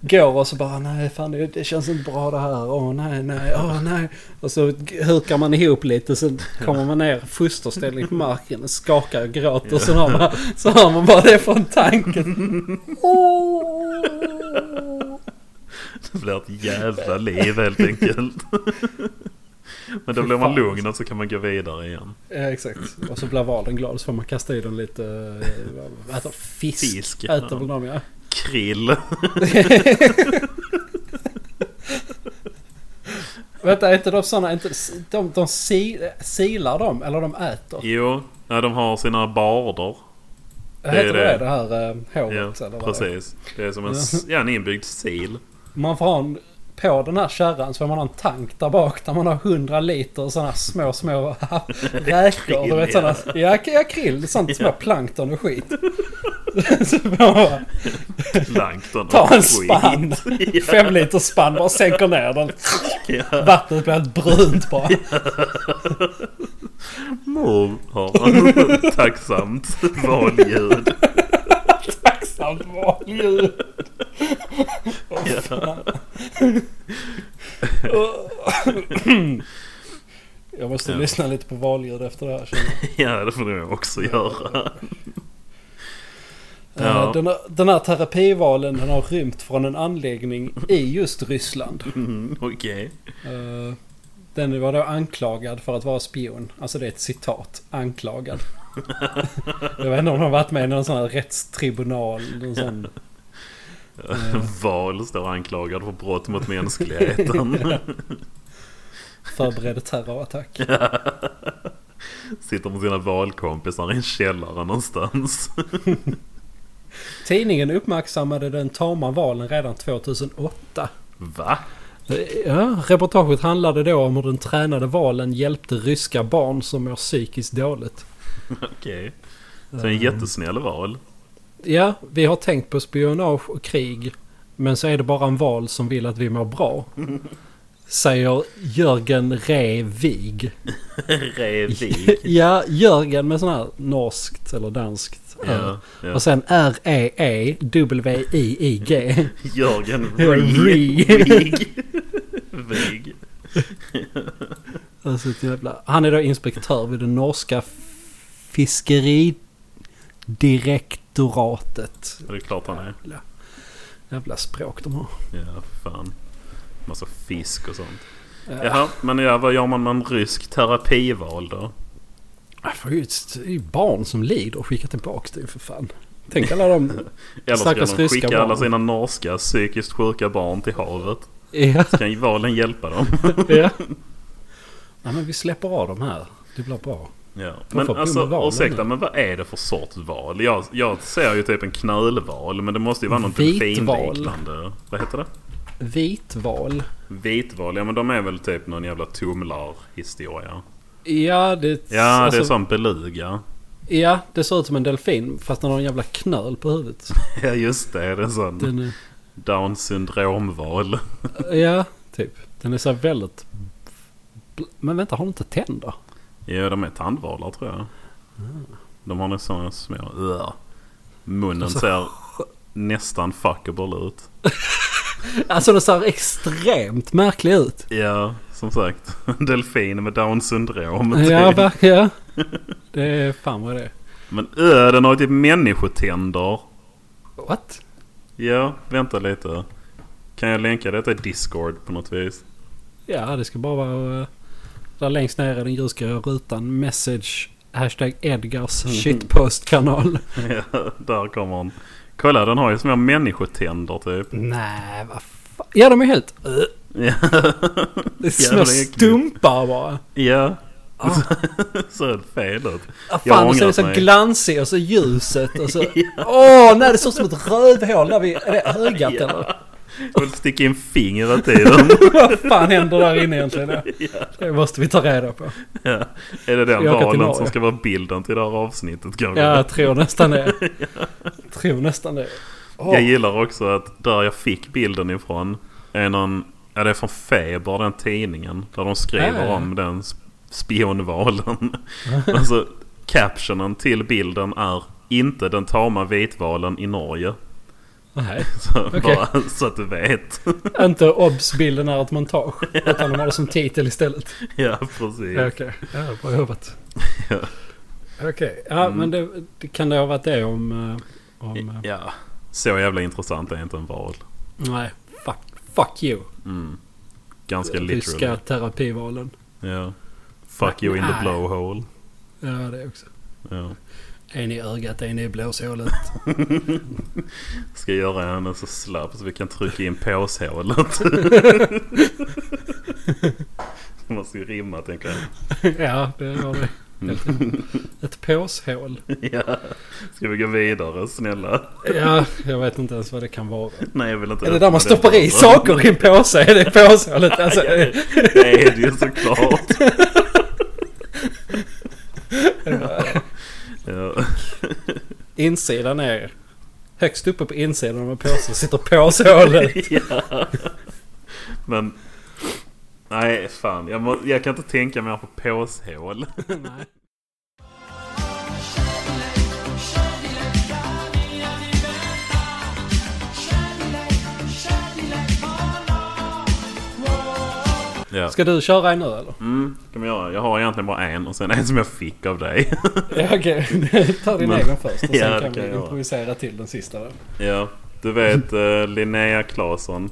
går och så bara nej fan det, det känns inte bra det här. Åh nej nej, åh nej. Och så hukar man ihop lite så kommer man ner fosterställning på marken och skakar och gråter. Och så hör man, så hör man bara det från tanken. Åh. Det blir ett jävla liv helt enkelt. Men då blir man lugn och så kan man gå vidare igen. Ja, exakt. Och så blir valen glad så får man kasta i den lite... eh, vad- Äter fisk. Fisk, ja. Äter väl de ja. Krill. Vänta, är inte de sådana... Inte, de de si, silar dem, eller de äter? Jo, ja, de har sina barder. Heter det det. det, det här eh, Ja, håret? eller vad det är? precis. Det är som en, s- ja, en inbyggd sil. Man får ha en, på den här kärran så får man ha en tank där bak där man har 100 liter sådana små, små räkor. Du vet sådana... Ja, k- ja, krill. Sånt små plankton och skit. så får man bara Plankton och ta en skit. spann. Fem liter spann bara sänker ner den. Ja. Vattnet blir helt brunt bara. Mor har tacksamt valljud. Tacksamt valljud. Ja. Jag måste Ja. lyssna lite på valljud efter det här. känner jag. ja, det får du också göra. Eh, Ja. Den, här- den här terapivalen den har rymt från en anläggning i just Ryssland. Mm, Okej. Eh, Den var då anklagad för att vara spion. Alltså det är ett citat. Anklagad. Jag vet inte om de har varit med i någon sån här rättstribunal. Någon sån. Val står anklagad för brott mot mänskligheten. Förberedde terrorattack. Sitter med sina valkompisar i en källare någonstans. Tidningen uppmärksammade den tama valen redan 2008. Va? Ja, reportaget handlade då om hur den tränade valen hjälpte ryska barn som mår psykiskt dåligt. Okej. Så en jättesnäll val. Ja, vi har tänkt på spionage och krig. Men så är det bara en val som vill att vi mår bra. Säger Jörgen Revig. Revig. Ja, Jörgen med sån här norskt eller danskt. Ja, ja. Och sen E R-E-E-W-I-I-G. Jörgen Rig. Rig. Vig. Alltså, ett jävla... Han är då inspektör vid det norska fiskeridirektoratet. Det är klart han är. Jävla språk de har. Ja, fan. Massa fisk och sånt. Ja. Jaha, men ja, vad gör man med en rysk terapival då? Jag får ju ett- Det är ju barn som lider och skicka tillbaka det för fan. Tänk alla de... Eller ska Stackars de ryska skicka alla barn. sina norska psykiskt sjuka barn till havet? ja, Kan ju valen hjälpa dem? ja. Nej men vi släpper av dem här. Det blir bra. Ja. får bo Men med alltså, valen ursäkta, nu. men vad är det för sorts val? Jag, jag ser ju typ en knölval, men det måste ju vara något Vitval. delfinliknande. Vad heter det? Vitval. Vitval, ja men de är väl typ någon jävla tumlarhistoria. Ja det... Ja, det är alltså- sån beluga. Ja, det ser ut som en delfin fast den har en jävla knöl på huvudet. Ja, just det. Det är en sån Den är... down syndromval. Ja, typ. Den är så här väldigt... bl- Men vänta, har den inte tänder? Ja, de är tandvalar tror jag. Ah. De har nästan sådana små... Ugh. Munnen ser nästan fuckable ut. Alltså den ser extremt märklig ut. Ja, som sagt. Delfin med typ. down syndrom. Ja, verkligen. Ja. Det är fan vad det är. Men ö, den har ju typ människotänder. What? Ja, vänta lite. Kan jag länka detta i Discord på något vis? Ja, det ska bara vara... eh, Där längst ner i den ljusgrå rutan. Message hashtag Edgars Mm. shitpost-kanal. Ja, där kommer han. Kolla den har ju små människotänder typ. Nej, vad fan. Ja, de är helt... Ja. Det är Jävla små äckligt. stumpar bara. Ja. Ah. Så är det fel ut. Ja, Jag fan, och så är ångrar det så mig. glansigt och så ljuset och så... Åh, nej det ser ut som ett rövhål där vid... Är det ögat Ja. eller? Jag vill sticka in fingret i den. Vad fan händer där inne egentligen? Det måste vi ta reda på. Ja. Är det den Jag åker till valen Norge. som ska vara bilden till det här avsnittet kanske? Ja, jag tror nästan det. Jag tror nästan det. Åh. Jag gillar också att där jag fick bilden ifrån är någon, ja det är från Feber, den tidningen. Där de skriver Ah. om den sp- spionvalen. Och så captionen till bilden är inte den tama vitvalen i Norge. Nej, Så, Okej. bara, så att du vet. inte obs-bilden är ett montage. Utan de har det som titel istället. ja, precis. Ja, Okej, ja, bra jobbat. Ja. Okej, ja Mm. men det, det kan det ha varit det om... eh, om eh, Ja, så jävla intressant är inte en val. Nej, fuck, fuck you. Mm. Ganska Ryska literally. terapivalen. Ja. Fuck you in Nej. the blowhole. Ja, det också. Ja. En i ögat, en i blåshålet. Ska göra henne så slapp så vi kan trycka in påshålet. Det måste ju rimma tänker jag. ja, det har vi. Helt Mm. rätt. Ett påshål. Ja. Ska vi gå vidare snälla? Ja, jag vet inte ens vad det kan vara. Nej jag vill inte Är det öppna där man stoppar i dörren. saker i en påse? Är det påshålet? Alltså, Ja, det det är det ju såklart. Ja. insidan är... Högst uppe på insidan av en påse sitter påshålet. ja. Men... Nej fan, jag, må, jag kan inte tänka mer på påshål. Nej. Ja. Ska du köra en nu eller? Mm, kan man göra. Jag har egentligen bara en och sen en som jag fick av dig. Ja, okej. Ta din Men- egen först och sen Ja, det kan kan vi jag göra. improvisera till den sista. Då. Ja, du vet eh, Linnea Claesson.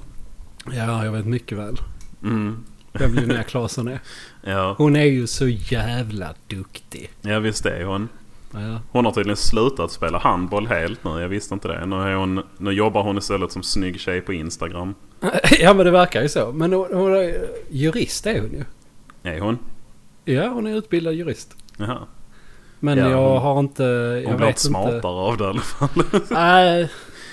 Ja, jag vet mycket väl. Mm. Vem Linnea Claesson är. Ja. Hon är ju så jävla duktig. ja, visst är hon. Ja. Hon har tydligen slutat spela handboll helt nu. Jag visste inte det. Nu, är hon, nu jobbar hon istället som snygg tjej på Instagram. ja, men det verkar ju så. Men hon, hon är, jurist är hon ju. Är hon? Ja, hon är utbildad jurist. Jaha. Men Ja, jag hon- har inte... Hon Jag blir inte vet smartare inte. av det i alla fall. Nej,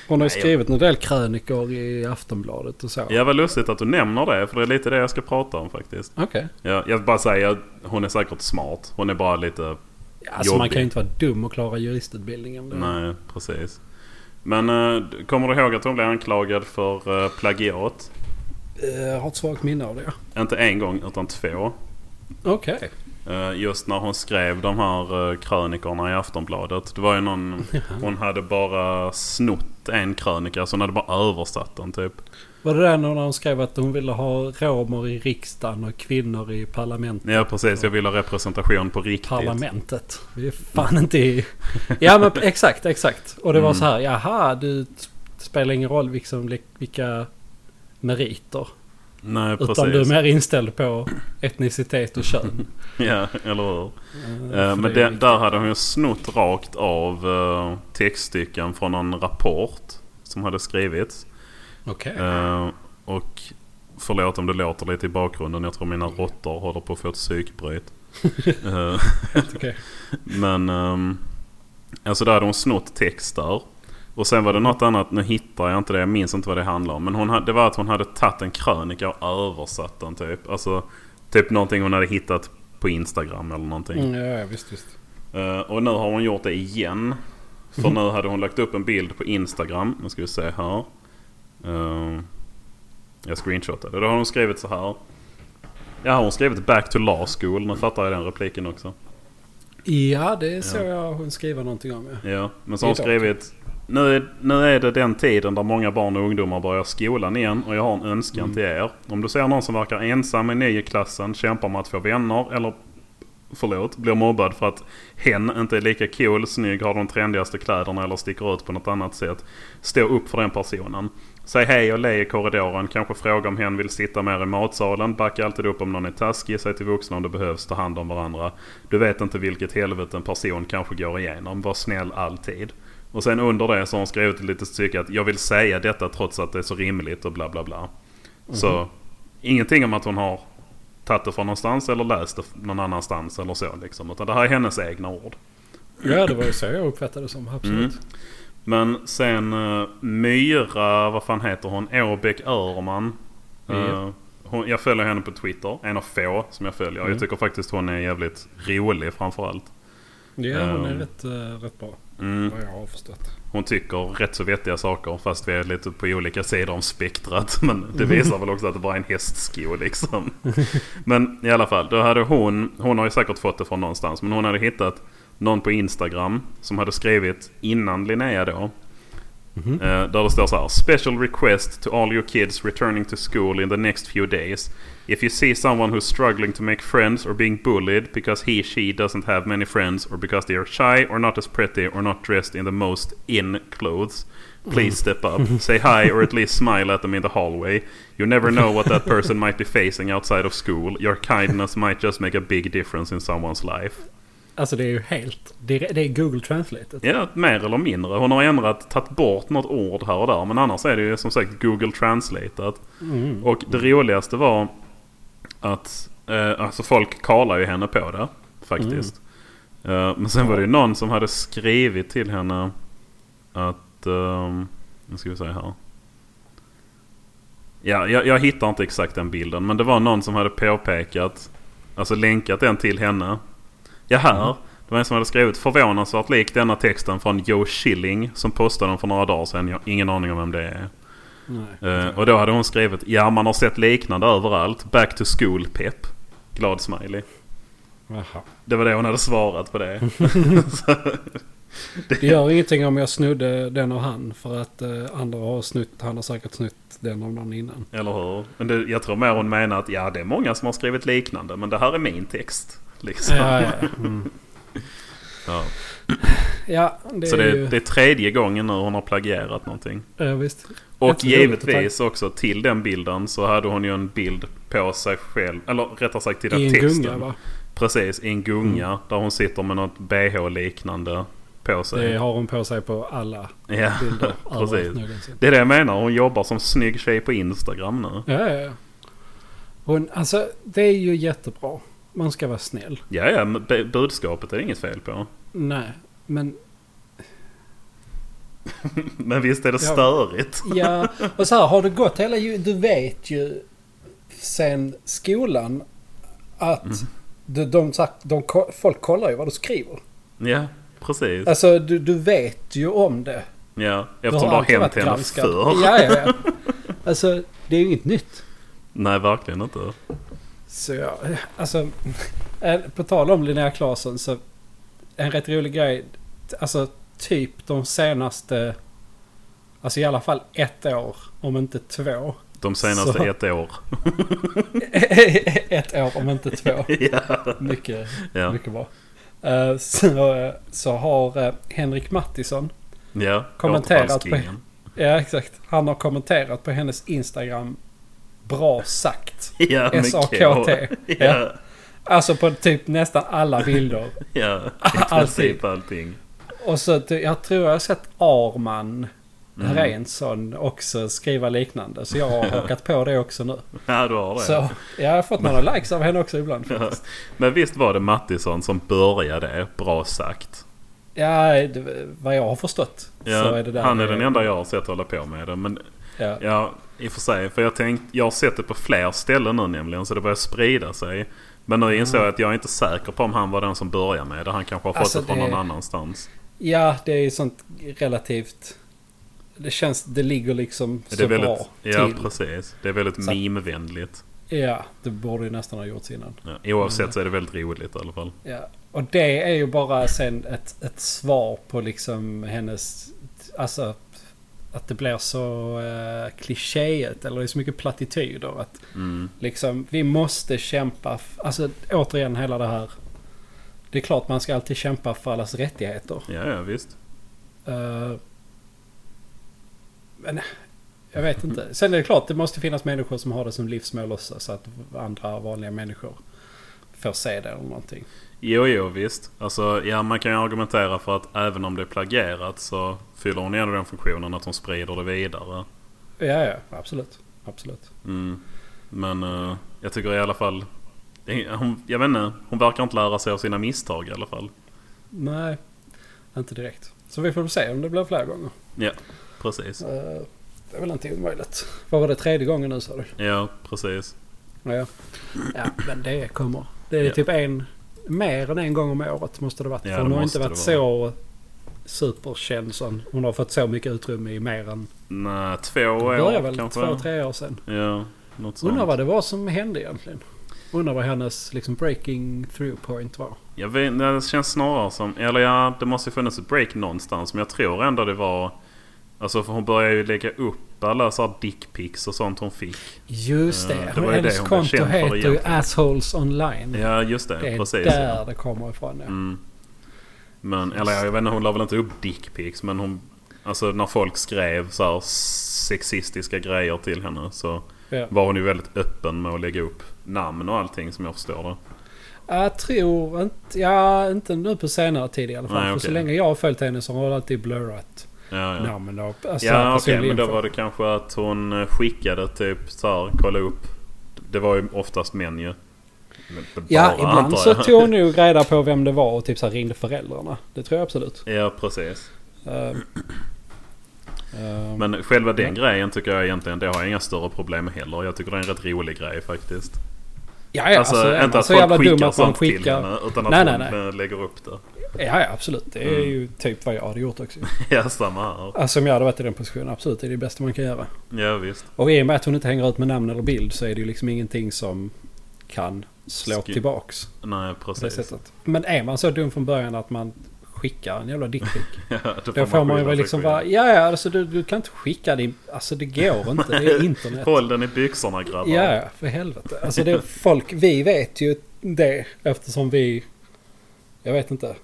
hon har ju Nej, jag- skrivit en del krönikor i Aftonbladet och så. Ja, vad lustigt att du nämner det. För det är lite det jag ska prata om faktiskt. Okej. Ja, jag vill bara säga att hon är säkert smart. Hon är bara lite... Alltså man Jobbig. kan ju inte vara dum och klara juristutbildningen. Nej, precis. Men eh, kommer du ihåg att hon blev anklagad för eh, plagiat? Eh, Jag har ett svagt minne av det. Inte en gång, utan två. Okej. Eh, Just när hon skrev de här eh, krönikorna i Aftonbladet. Det var ju någon... Hon hade bara snott en krönika så hon hade bara översatt den typ. Var det där när hon skrev att hon ville ha romer i riksdagen och kvinnor i parlament? Ja precis, jag ville ha representation på riktigt. Parlamentet. Vi är fan inte i... Ja men exakt, exakt. Och det var Mm. så här, jaha, du det spelar ingen roll liksom, li- vilka meriter. Nej precis. Utan du är mer inställd på etnicitet och kön. Ja, eller hur? Eh, Eh, för Men det är den- där hade hon ju snott rakt av eh, textstycken från någon rapport som hade skrivits. Okej. Eh, Och förlåt om det låter lite i bakgrunden. Jag tror mina råttor håller på att få ett psykbryt. Eh, okej. Men ehm, alltså där hade hon snott text där. Och sen var det något annat, nu hittar jag inte det, jag minns inte vad det handlar om. Men hon hade, det var att hon hade tagit en krönika och översatt den typ. Alltså typ någonting hon hade hittat på Instagram eller någonting. Mm, ja, ja, visst, visst. Eh, och nu har hon gjort det igen. För nu hade hon lagt upp en bild på Instagram. Nu ska vi se här. Eh, jag screenshotade. Då har hon skrivit så här. Ja, hon har skrivit back to law school. Nu fattar jag den repliken också. Ja, det såg jag hon skriva någonting om. Ja. Ja, men så har hon Idag. skrivit nu är, nu är det den tiden där många barn och ungdomar börjar skolan igen och jag har en önskan till er. Om du ser någon som verkar ensam är ny i klassen, kämpar med att få vänner eller förlåt, blir mobbad för att hen inte är lika cool, snygg, har de trendigaste kläderna eller sticker ut på något annat sätt. Stå upp för den personen. Säg hej och le i korridoren. Kanske fråga om hen vill sitta mer i matsalen. Backa alltid upp om någon är taskig. Säg till vuxna om det behövs. Ta hand om varandra. Du vet inte vilket helvete en person kanske går igenom. Var snäll alltid. Och sen under det så har hon skrivit ett litet stycke att jag vill säga detta trots att det är så rimligt och bla bla bla. Så ingenting om att hon har tagit det från någonstans eller läst det någon annanstans eller så liksom. Utan det här är hennes egna ord. Ja, det var ju så jag uppfattade det som. Absolut. Mm. Men sen eh, Myra, vad fan heter hon? Åbäck Öhrman. Eh, Ja. hon, jag följer henne på Twitter. En av få som jag följer. Mm. Jag tycker faktiskt hon är jävligt rolig framförallt. Ja, hon är Ehm. rätt, eh, rätt bra. Mm. Vad jag har förstått. Hon tycker rätt så vettiga saker fast vi är lite på olika sidor om spektrat. Men det visar väl också att det bara är en hästsko liksom. Men i alla fall, då hade hon, hon har ju säkert fått det från någonstans, men hon hade hittat någon på Instagram som hade skrivit innan Linnea då. Mhm. Eh, Där det står så här. Special request to all your kids returning to school in the next few days. If you see someone who's struggling to make friends or being bullied because he she doesn't have many friends or because they are shy or not as pretty or not dressed in the most in clothes. Please step up, say hi or at least smile at them in the hallway. You never know what that person might be facing outside of school. Your kindness might just make a big difference in someone's life. Alltså det är ju helt... Det är, det är Google Translate. Ja, mer eller mindre. Hon har ändrat, tagit bort något ord här och där. Men annars är det ju som sagt Google Translateat. Mm. Och det roligaste var att eh, alltså folk kallar ju henne på det faktiskt. Eh, men sen var det ju någon som hade skrivit till henne att... ehm, nu ska vi se här. Ja, jag, jag hittar inte exakt den bilden. Men det var någon som hade påpekat, alltså länkat den till henne. Ja, här. Det var en som hade skrivit förvånansvärt lik denna texten från Joe Schilling som postade den för några dagar sedan. Jag har ingen aning om vem det är. Nej. Eh, och då hade hon skrivit Ja man har sett liknande överallt. Back to school pepp. Glad smiley. Jaha. Det var det hon hade svarat på det. Det gör ingenting om jag snodde den av han. För att eh, andra har snutt, han har säkert snutt den av någon innan. Eller hur? Men det, jag tror mer hon menar att ja det är många som har skrivit liknande men det här är min text. Liksom. Ja, ja. Mm. Ja. ja det Så är det, ju... det är tredje gången nu hon har plagierat någonting. Ja, visst. Och Rätt så roligt, givetvis också till den bilden så hade hon ju en bild på sig själv. Eller rättare sagt till den I en texten. gunga va? Mm. Precis, i en gunga. Där hon sitter med något bh-liknande på sig. Det har hon på sig på alla Ja, bilder. överallt precis. någonsin. Det är det jag menar. Hon jobbar som snygg tjej på Instagram nu. Ja, ja, ja. Hon, alltså det är ju jättebra. Man ska vara snäll. Ja, ja, men bu- budskapet är det inget fel på. Nej, men Men visst är det Ja. störigt? ja. Och så här har det gått hela ju. Du vet ju sen skolan att Mm. du, de, de, de, ko- folk kollar ju vad du skriver. Ja, precis. Alltså du, du vet ju om det. Ja, Du eftersom det har alltid hänt varit henne granskad. förr. Ja, ja, ja. Alltså det är ju inget nytt. Nej, verkligen inte. Så jag, alltså, eh, på tal om Linnea Claesson så en rätt rolig grej. Alltså typ de senaste, alltså i alla fall ett år, om inte två. De senaste Så. ett år. ett år om inte två. ja. Mycket, Ja. mycket bra. Eh, Så, eh, så har eh, Henrik Mattisson, ja. Kommenterat på- återfallskingen. ja exakt, han har kommenterat på hennes Instagram Bra sagt. Ja, med SAKT. K. Ja, Alltså på typ nästan alla bilder. ja. I Alltid. princip allting. Och så ty- jag tror jag har sett Arman Mm. Reinsson också skriva liknande. Så jag har hakat på det också nu. Ja, du har det. Så jag har fått några likes av henne också ibland. Ja. Men visst var det Mattisson som började, bra sagt. Ja, det, vad jag har förstått. så Ja, är det där han är det- den enda jag har sett hålla på med det. Men Ja. Ja, i och för sig. För jag, tänkt, jag har sett det på fler ställen nu nämligen, så det börjar sprida sig. Men nu insåg jag att jag är inte säker på om han var den som började med det. Han kanske har fått Alltså, det från det- någon annanstans. ja, det är sånt relativt... Det känns... Det ligger liksom så Det är bra väldigt, ja, till. precis. Det är väldigt Så- meme-vänligt. Ja, det borde ju nästan ha gjorts innan. Ja, oavsett Mm. så är det väldigt roligt i alla fall. Ja. Och det är ju bara sen ett, ett svar på liksom hennes... Alltså att det blir så eh, klichéet eller det är så mycket plattityder. Att Mm. liksom vi måste kämpa. f- Alltså återigen hela det här. Det är klart man ska alltid kämpa för allas rättigheter. Ja, ja, visst. Eh, men Jag vet inte. Sen är det klart, det måste finnas människor som har det som livsmål också. Så att andra vanliga människor får se det eller någonting. Jo, jo visst. Alltså, ja, man kan ju argumentera för att även om det är plagierat så fyller hon ändå den funktionen att hon sprider det vidare. Ja, ja. Absolut. Absolut. Mm. Men eh, jag tycker i alla fall... det- Hon, jag vet inte, hon verkar inte lära sig av sina misstag i alla fall. Nej, inte direkt. Så vi får väl se om det blir fler gånger. Ja, precis. Eh, Det är väl inte omöjligt. Vad var det tredje gången nu sa du? Ja, precis. Ja, ja men det kommer. Det är Ja. typ en... Mer än en gång om året måste det varit. Ja, för hon det har måste inte varit det så superkänd. som- Hon har fått så mycket utrymme i mer än... Nej, två Det började år väl kanske? två, tre år sedan. Ja, något sånt. Undrar vad det var som hände egentligen. Undrar vad hennes liksom breaking through point var. Jag vet, nej, det känns snarare som... Eller ja, det måste ju funnits ett break någonstans. Men jag tror ändå det var... Alltså för hon började ju lägga upp alla så här dickpics och sånt hon fick. Just det. Ja, det Hon- var ju det hennes hon blev konto känd för heter ju egentligen. Assholes Online. Ja, just det. Mm. det är precis. där Ja. det kommer ifrån. Ja. Mm. Men, eller jag vet inte, hon la väl inte upp dickpics. Men hon... Alltså när folk skrev så här sexistiska grejer till henne så Ja. var hon ju väldigt öppen med att lägga upp namn och allting som jag förstår det. Jag tror inte... Ja, inte nu på senare tid i alla fall. Nej, för okej. så länge jag har följt henne så har hon alltid blurrat Ja, ja. namn och alltså, Ja okej, personlig men då info. var det kanske att hon eh, skickade typ så här, kolla upp. Det var ju oftast män ju. Men b- Ja, bara, antar ibland så jag. tog hon nog reda på vem det var och typ så här ringde föräldrarna. Det tror jag absolut. Ja, precis. Eh, eh, Men själva den grejen tycker jag egentligen, det har jag inga större problem med heller. Jag tycker det är en rätt rolig grej faktiskt. ja, ja, alltså, alltså, är inte man att så folk jävla skickar dum att man sånt till skickar... henne, utan att Nej, hon nej, nej. eh, lägger upp det. Ja, ja, absolut. Det är Mm. ju typ vad jag hade gjort också. Ja, samma här. Alltså om jag hade varit i den positionen, absolut. Det är det bästa man kan göra. Ja, visst. Och i och med att hon inte hänger ut med namn eller bild så är det ju liksom ingenting som kan slå Sky- tillbaks. Nej, På det precis. sättet. Men är man så dum från början att man skickar en jävla dickpic. Ja, Då får man ju skylla sig väl liksom själv. bara... Ja, ja, alltså du, du kan inte skicka din... Alltså det går inte. Det är internet. Håll den i byxorna grabbar. Ja, ja, för helvete. Alltså det är folk, vi vet ju det eftersom vi... Jag vet inte.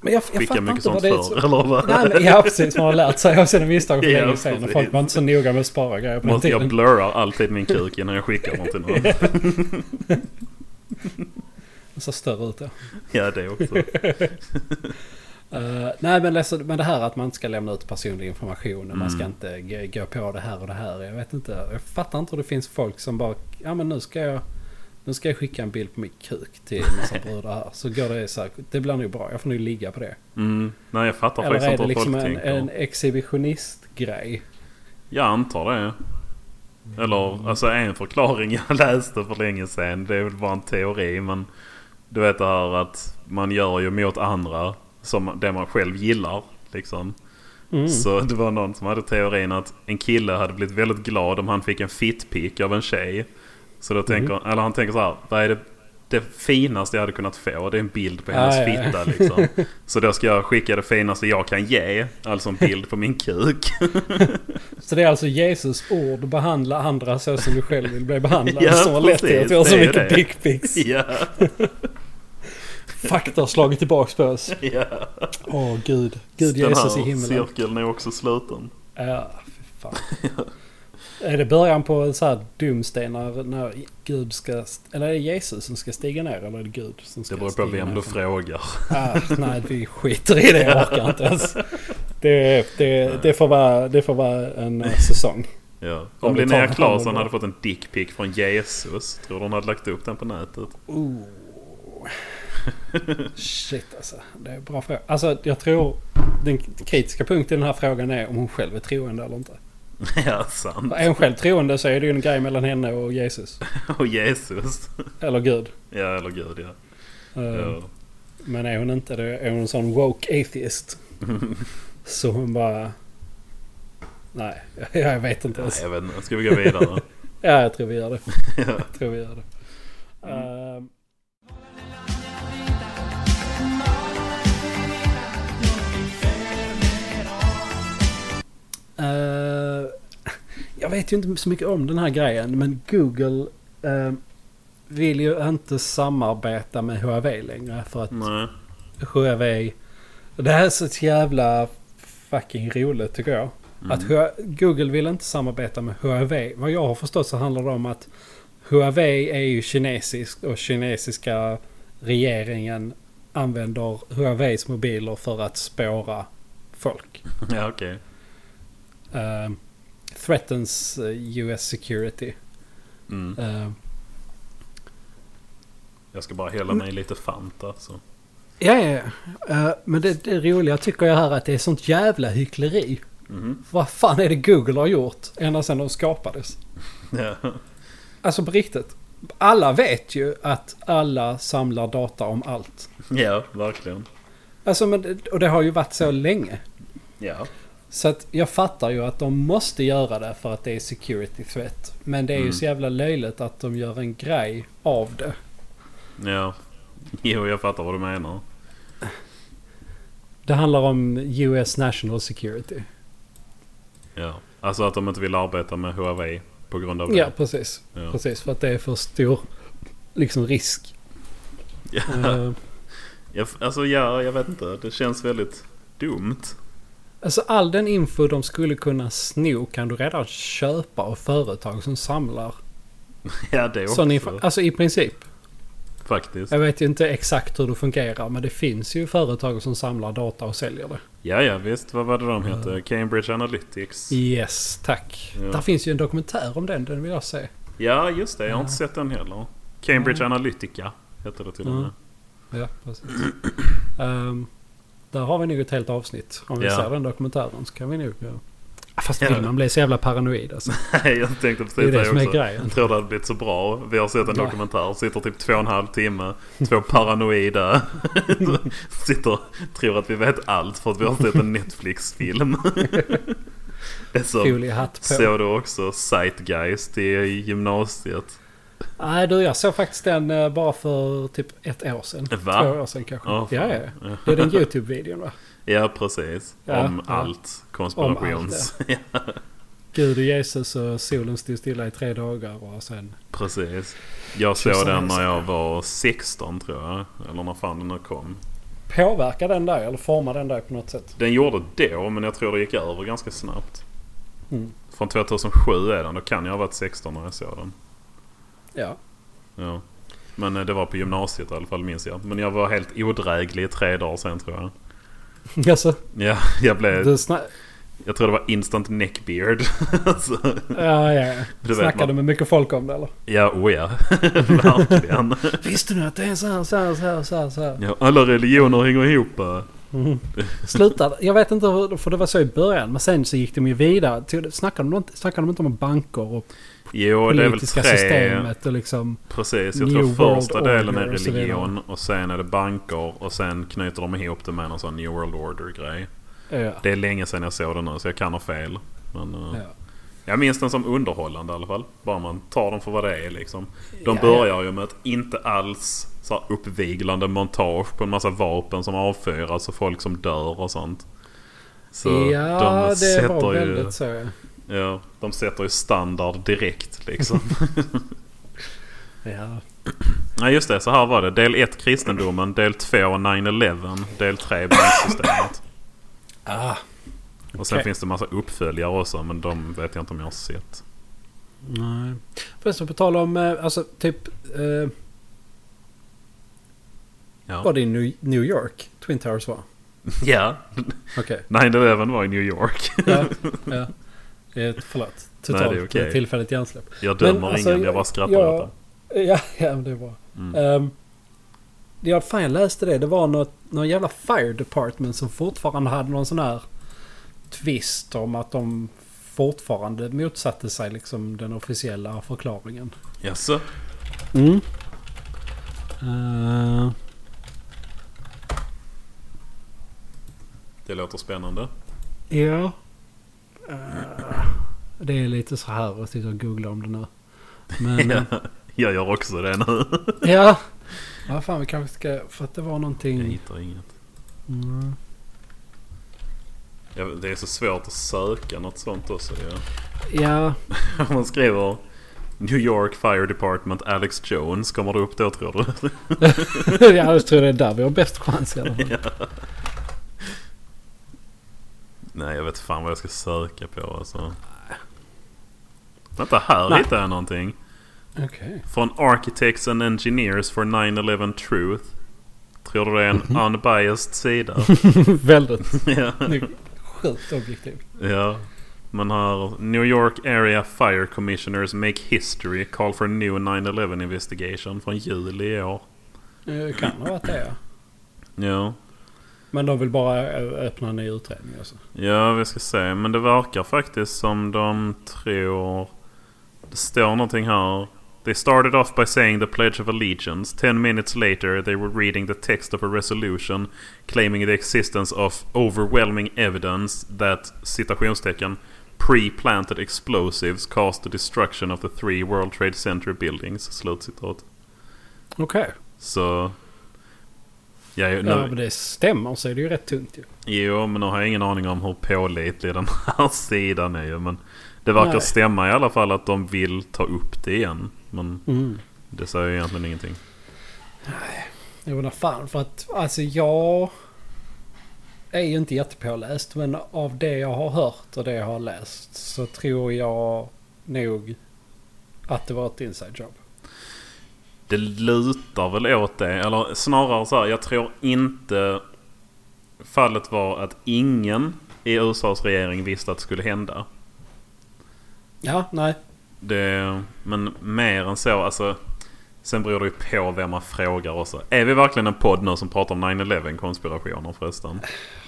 Men jag, jag Skicka fattar mycket inte sånt vad det är förr, som... eller vad? Nej, men, ja, precis. Man har lärt sig av sina misstag för Ja, länge sedan. Och folk precis. var inte så noga med att spara grejer på den Måste- Jag tiden. blurrar alltid min kuk innan jag skickar någon till någon. Det ser större ut ja. Ja, det också. Eh, nej, men, alltså, men det här att man inte ska lämna ut personlig information och man ska Mm. inte g- gå på det här och det här. Jag vet inte. Jag fattar inte hur det finns folk som bara... Ja, men nu ska jag... Nu ska jag skicka en bild på min kuk till en massa brudar här. Så går det så här. Det blir nog bra. Jag får nog ligga på det. Mm. Nej, jag fattar Eller faktiskt är inte det hur liksom folk en, tänker. en exhibitionistgrej? Jag antar det. Eller, alltså en förklaring jag läste för länge sedan. Det är väl bara en teori, men... Du vet det här att man gör ju mot andra som det man själv gillar. Liksom. Mm. Så det var någon som hade teorin att en kille hade blivit väldigt glad om han fick en fittpick av en tjej. Så då tänker Mm. han, eller han tänker så här, vad är det, det finaste jag hade kunnat få? Det är en bild på hennes Ah, ja, ja. fitta liksom. Så då ska jag skicka det finaste jag kan ge, alltså en bild på min kuk. Så det är alltså Jesus ord, behandla andra så som du själv vill bli behandlad. Ja, som har lett till att vi har precis, så det är mycket det. dickpics. ja, Fakta har slagit tillbaks på oss. ja. Åh gud, gud Den Jesus i här himmelen. cirkeln är också sluten. Ja, fy fan. Är det början på en sån här dumsten när, när Gud ska... st- Eller är det Jesus som ska stiga ner eller är det Gud som ska Det beror på stiga vem ner du från- frågar. Ah, nej, vi skiter i det. Jag orkar inte ens. Det, det, det, får vara, det får vara en eh, säsong. Ja. Ja, Om vi tar Linnea hand om Claesson det. hade fått en dickpic från Jesus, tror du hon hade lagt upp den på nätet? Ooh. Shit alltså. Det är en bra fråga. Alltså jag tror den kritiska punkten i den här frågan är om hon själv är troende eller inte. ja, sant. Är hon själv troende så är det ju en grej mellan henne och Jesus. Och Jesus. Eller Gud. Ja, eller gud ja. Eh, Ja. Men är hon inte det, är hon en sån woke atheist. så hon bara... Nej, jag vet inte Nej, ens. jag vet inte. Ska vi gå vidare? Ja, jag tror vi gör det. ja. Jag tror vi gör det. Ehm, Eh, jag vet ju inte så mycket om den här grejen men Google eh, vill ju inte samarbeta med Huawei längre för att Nej. E. Huawei... Det här är så jävla fucking roligt tycker jag. Mm. Att Hua- Google vill inte samarbeta med Huawei. Vad jag har förstått så handlar det om att Huawei är ju kinesiskt och kinesiska regeringen använder Huaweis mobiler för att spåra folk. Ja, okej. Eh, threatens eh, US security. Mm. Eh, Jag ska bara hälla mig lite alltså. Fanta. Så. Ja, ja, ja. Eh, men det, det roliga tycker jag här är att det är sånt jävla hyckleri. Mhm. Vad fan är det Google har gjort ända sedan de skapades? Ja. Alltså på riktigt. Alla vet ju att alla samlar data om allt. ja, verkligen. Alltså, men, det- och det har ju varit så länge. Ja. Så att jag fattar ju att de måste göra det för att det är security threat. Men det är ju Mm. så jävla löjligt att de gör en grej av det. ja. Jo, jag fattar vad du menar. Det handlar om US National Security. Ja. Alltså att de inte vill arbeta med Huawei på grund av det. Ja, precis. Ja. Precis, för att det är för stor liksom, risk. Ja. Eh, Jag, alltså ja, jag vet inte. Det känns väldigt dumt. Alltså all den info de skulle kunna sno kan du redan köpa av företag som samlar Ja, det också. sån info. Alltså i princip. Faktiskt. Jag vet ju inte exakt hur det fungerar men det finns ju företag som samlar data och säljer det. Ja, ja visst. Vad var det de hette? Cambridge Analytics. Yes, tack. Ja. Där finns ju en dokumentär om den, den vill jag se. Ja, just det. Jag har inte sett den heller. Cambridge Analytica hette det till och Mm. med. Ja, precis. Ehm, där har vi nog ett helt avsnitt. Om vi Ja. ser den dokumentären så kan vi nog... Ja. Ah, Fast Ja. vill man bli så jävla paranoid alltså. jag tänkte precis Det är det som är också. grejen. Jag tror det hade blivit så bra. Vi har sett en Ja. dokumentär. Sitter typ två och en halv timme. Två paranoida. Sitter tror att vi vet allt för att vi har sett en Netflix-film. det är så. Foliehatt på. Såg du också Zeitgeist i gymnasiet? Nej du, jag såg faktiskt den eh, bara för typ ett år sedan. Va? Två år sedan kanske. Åh, fan. ja, ja. Det är den YouTube-videon va? Ja, precis. Ja, Om ja. allt konspirations... ja, Gud och Jesus och solen stod stilla i tre dagar och sen... precis. Jag Tusen såg den resor. när jag var 16 tror jag. Eller när fan den nu kom. Påverkar den där eller formar den där på något sätt? Den gjorde då, men jag tror det gick över ganska snabbt. Mm. Från 2007 är den. Då kan jag ha varit 16 när jag såg den. Ja. Ja. Men eh, det var på gymnasiet i alla fall minns jag. Men jag var helt odräglig i tre dagar sen tror jag. Alltså, Ja, jag, blev, du sna- jag tror det var instant neckbeard. Så, ja, ja, Du ja. vet, Snackade man- du med mycket folk om det eller? ja, oh ja. Verkligen. Visste du att det är så här, så här, så här, så här, så här? Ja, alla religioner hänger ihop. eh. Slutade, jag vet inte hur, för det var så i början. Men sen så gick de ju vidare. Till- Snackade de, inte- snackade de inte om banker och Jo, det är väl politiska tre. systemet och liksom... Precis, jag New tror World första delen är Order och så vidare. religion och sen är det banker och sen knyter de ihop det med någon sån New World Order-grej. Ja. Det är länge sedan jag såg den nu så jag kan ha fel. Men, eh, Ja. Jag minns den som underhållande i alla fall. Bara man tar dem för vad det är liksom. De Ja, börjar ju med ett inte alls så här uppviglande montage på en massa vapen som avfyras och folk som dör och sånt. Så ja, det var ju, väldigt så. ja. ja, de sätter ju standard direkt liksom. Ja. Nej just det, så här var det. Del 1 kristendomen, del 2 9-11, del 3 banksystemet. Ah, Och sen Okej. finns det massa uppföljare också men de vet jag inte om jag har sett. nej. Förresten, på tal om, eh, alltså typ... Eh, var Ja. det i New, New York Twin Towers var? ja. Okej. 9-11 var i New York. Ja, ja. Eh, Förlåt. Totalt Nej, det är okej. eh, tillfälligt hjärnsläpp. Jag Men dömer alltså, ingen, jag bara skrattar jag- åt det. Ja, ja men det är bra. Mm. Ehm, ja, fan jag läste det. Det var något, någon jävla fire department som fortfarande hade någon sån här twist om att de fortfarande motsatte sig liksom den officiella förklaringen. Jaså? Mm. Eh, Det låter spännande. ja. Eh, det är lite så här att sitta och googla om det nu. Men... eh, Jag gör också det nu. ja. Ja, fan vi kanske ska... För att det var Jag någonting... hittar inget. Mm. Jag- Det är så svårt att söka något sånt också. Ja. Ja. Om man skriver New York Fire Department Alex Jones kommer det upp då tror du? ja, jag tror det är där vi har bäst chans i alla fall. Nej, jag vet fan vad jag ska söka på alltså. Vänta, här Nej. hittar jag någonting. Okej. Från Architects and Engineers for 9-11 Truth. Tror du det är en Mhm. unbiased sida? Väldigt ja. snygg. Sjukt objektiv. ja. Man har New York Area Fire Commissioners Make History Call for New 9-11 Investigation från juli i år. Eh, Kan ha varit det ja. Ja. Men de vill bara eh, öppna en ny utredning alltså. Ja, vi ska se. Men det verkar faktiskt som de tror... Det står någonting här. They started off by saying the pledge of allegiance. Ten minutes later they were reading the text of a resolution claiming the existence of overwhelming evidence that citationstecken pre-planted explosives caused the destruction of the three World Trade Center buildings. Slutcitat. Okej. Så... Ja, nu, Ja, men det stämmer så är det ju rätt tungt ju. Jo, men nu har jag ingen aning om hur pålitlig den här sidan är ju. Men det verkar Nej. stämma i alla fall att de vill ta upp det igen. Men Mm. det säger ju egentligen ingenting. Jag undrar fan för att alltså jag är ju inte jättepåläst men av det jag har hört och det jag har läst så tror jag nog att det var ett inside job. Det lutar väl åt det. Eller snarare så här, jag tror inte fallet var att ingen i USAs regering visste att det skulle hända. Ja, nej. Det, men mer än så, alltså. Sen beror det ju på vem man frågar också. Är vi verkligen en podd nu som pratar om 9-11 konspirationer förresten?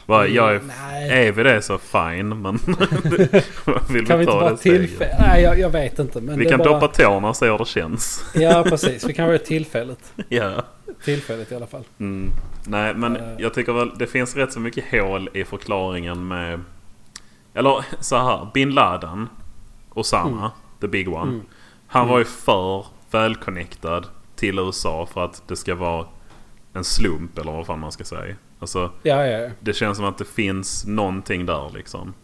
Va, jag är Mm, nej. Är vi det så fine, men vill Kan vi vi inte ta bara det steget? tillfället? Nej, jag, jag vet inte. Men Vi det är kan bara... doppa tårna och se hur det känns. Ja, precis. Vi kan göra tillfället. ja. Tillfället i alla fall. mm. Nej, men Eh. jag tycker väl det finns rätt så mycket hål i förklaringen med... Eller så här, bin Laden, Osama, the big one. Mm. Han var ju för välconnectad till USA för att det ska vara en slump eller vad fan man ska säga. Alltså, Ja, ja, ja. Det känns som att det finns någonting där liksom.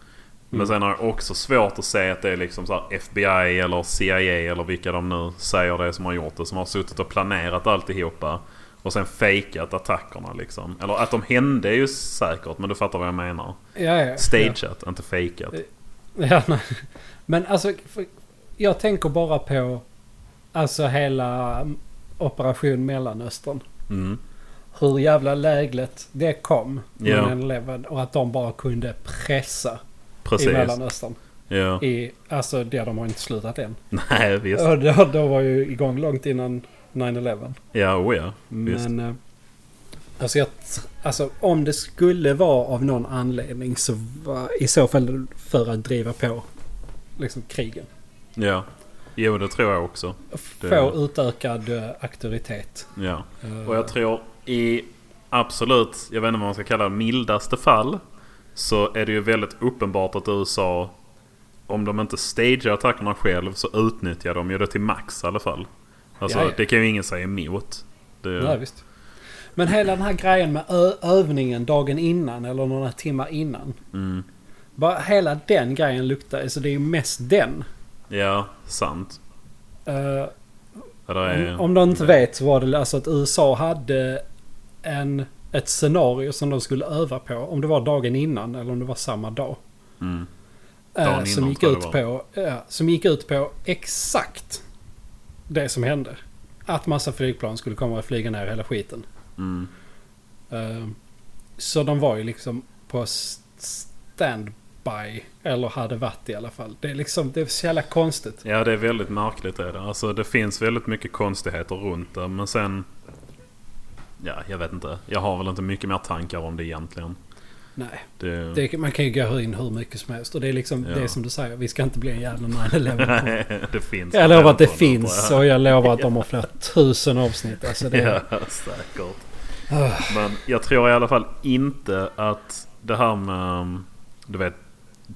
Men Mm. sen har jag också svårt att se att det är liksom så här FBI eller CIA eller vilka de nu säger det som har gjort det. Som har suttit och planerat alltihopa. Och sen fejkat attackerna liksom. Eller att de hände är ju säkert men du fattar vad jag menar. ja, ja. Stageat, inte fejkat. Ja, nej. Men alltså, för- jag tänker bara på alltså hela mm, operation Mellanöstern. Mm. Hur jävla lägligt det kom. Ja. Yeah. 11 och att de bara kunde pressa i Precis. Mellanöstern. Ja. I, alltså det de har inte slutat än. Nej visst. Och då, då var ju igång långt innan 9-11. Ja, oh ja. Visst. Men... eh, Alltså, jag, alltså om det skulle vara av någon anledning så var i så fall för att driva på liksom krigen. Ja. Jo det tror jag också. Få Det- utökad eh, auktoritet. Ja. Eh, Och jag tror i absolut, jag vet inte vad man ska kalla det, mildaste fall. Så är det ju väldigt uppenbart att USA, om de inte stagear attackerna själv så utnyttjar de ju det till max i alla fall. Alltså Jaja. det kan ju ingen säga emot. Det, nej, visst. Men hela den här grejen med ö- övningen dagen innan eller några timmar innan. mm, Bara hela den grejen luktar, alltså det är ju mest den. ja, sant. Eh, Ja, det är, Om, om de inte vet så var det alltså att USA hade en, ett scenario som de skulle öva på. Om det var dagen innan eller om det var samma dag. Mm, Eh, Dagen som, innan gick tror jag ut det på, ja, som gick ut på exakt det som hände. Att massa flygplan skulle komma och flyga ner hela skiten. mm, Eh, så de var ju liksom på s- standby. Eller hade varit i alla fall. Det är liksom, det är så jävla konstigt. ja, det är väldigt märkligt är det. Alltså det finns väldigt mycket konstigheter runt det. Men sen... Ja, jag vet inte. Jag har väl inte mycket mer tankar om det egentligen. Nej. Det, Det, man kan ju gå in hur mycket som helst. Och det är liksom Mm. Ja. det som du säger. Vi ska inte bli en jävla 9-11. det finns. Jag lovar att det redan, tror jag. finns och jag lovar att de har flera tusen avsnitt. Alltså det, Ja, säkert. Men jag tror i alla fall inte att det här med um, du vet,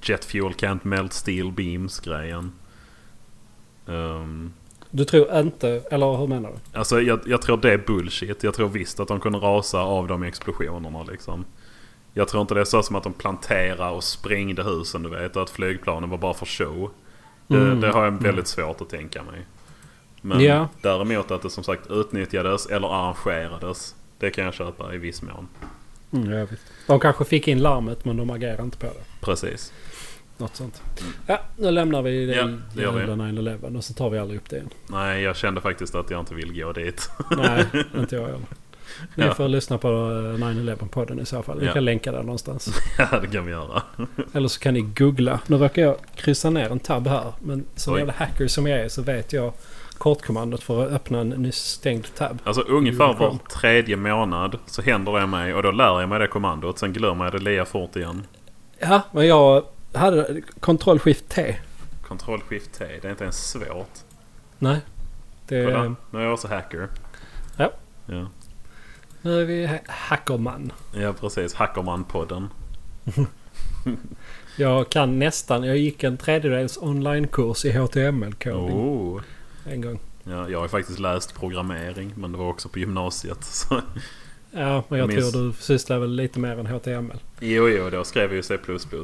jet fuel can't melt steel beams grejen. Um, Du tror inte, eller hur menar du? alltså jag, jag tror det är bullshit. Jag tror visst att de kunde rasa av de explosionerna liksom. Jag tror inte det är så som att de planterade och sprängde husen du vet. Och att flygplanen var bara för show. Det, Mm. det har jag väldigt svårt att tänka mig. Men Ja. däremot att det som sagt utnyttjades eller arrangerades. Det kan jag köpa i viss mån. Mm, jag vet. De kanske fick in larmet men de agerar inte på det. Precis. Något sånt. Ja, nu lämnar vi det Mm. Ja, i det gör vi. jävla 9-11 och så tar vi aldrig upp det igen. Nej, jag kände faktiskt att jag inte vill gå dit. Nej, inte jag heller. Ni Ja. får lyssna på eh, 9-11-podden i så fall. Vi Ja. kan länka där någonstans. ja, det kan vi göra. Eller så kan ni googla. Nu råkar jag kryssa ner en tab här. Men som Oj. jävla hacker som jag är så vet jag kortkommandot för att öppna en nyss stängd tab. Alltså ungefär var Unicorn. tredje månad så händer det mig och då lär jag mig det kommandot. Sen glömmer jag det lika fort igen. Ja, men jag hade kontroll shift T. Ctrl Shift T. Det är inte ens svårt. Nej. Det, Kolla, nu är jag också hacker. Eh. Ja. Ja, nu är vi ha- hackerman. ja precis. Hackerman-podden. Jag kan nästan. Jag gick en tredjedels onlinekurs i HTML-coding Oh. en gång. Ja, jag har faktiskt läst programmering men det var också på gymnasiet. Så. Ja, men jag Minns- tror du sysslar väl lite mer än HTML. Jo, jo, då skrev jag ju C++.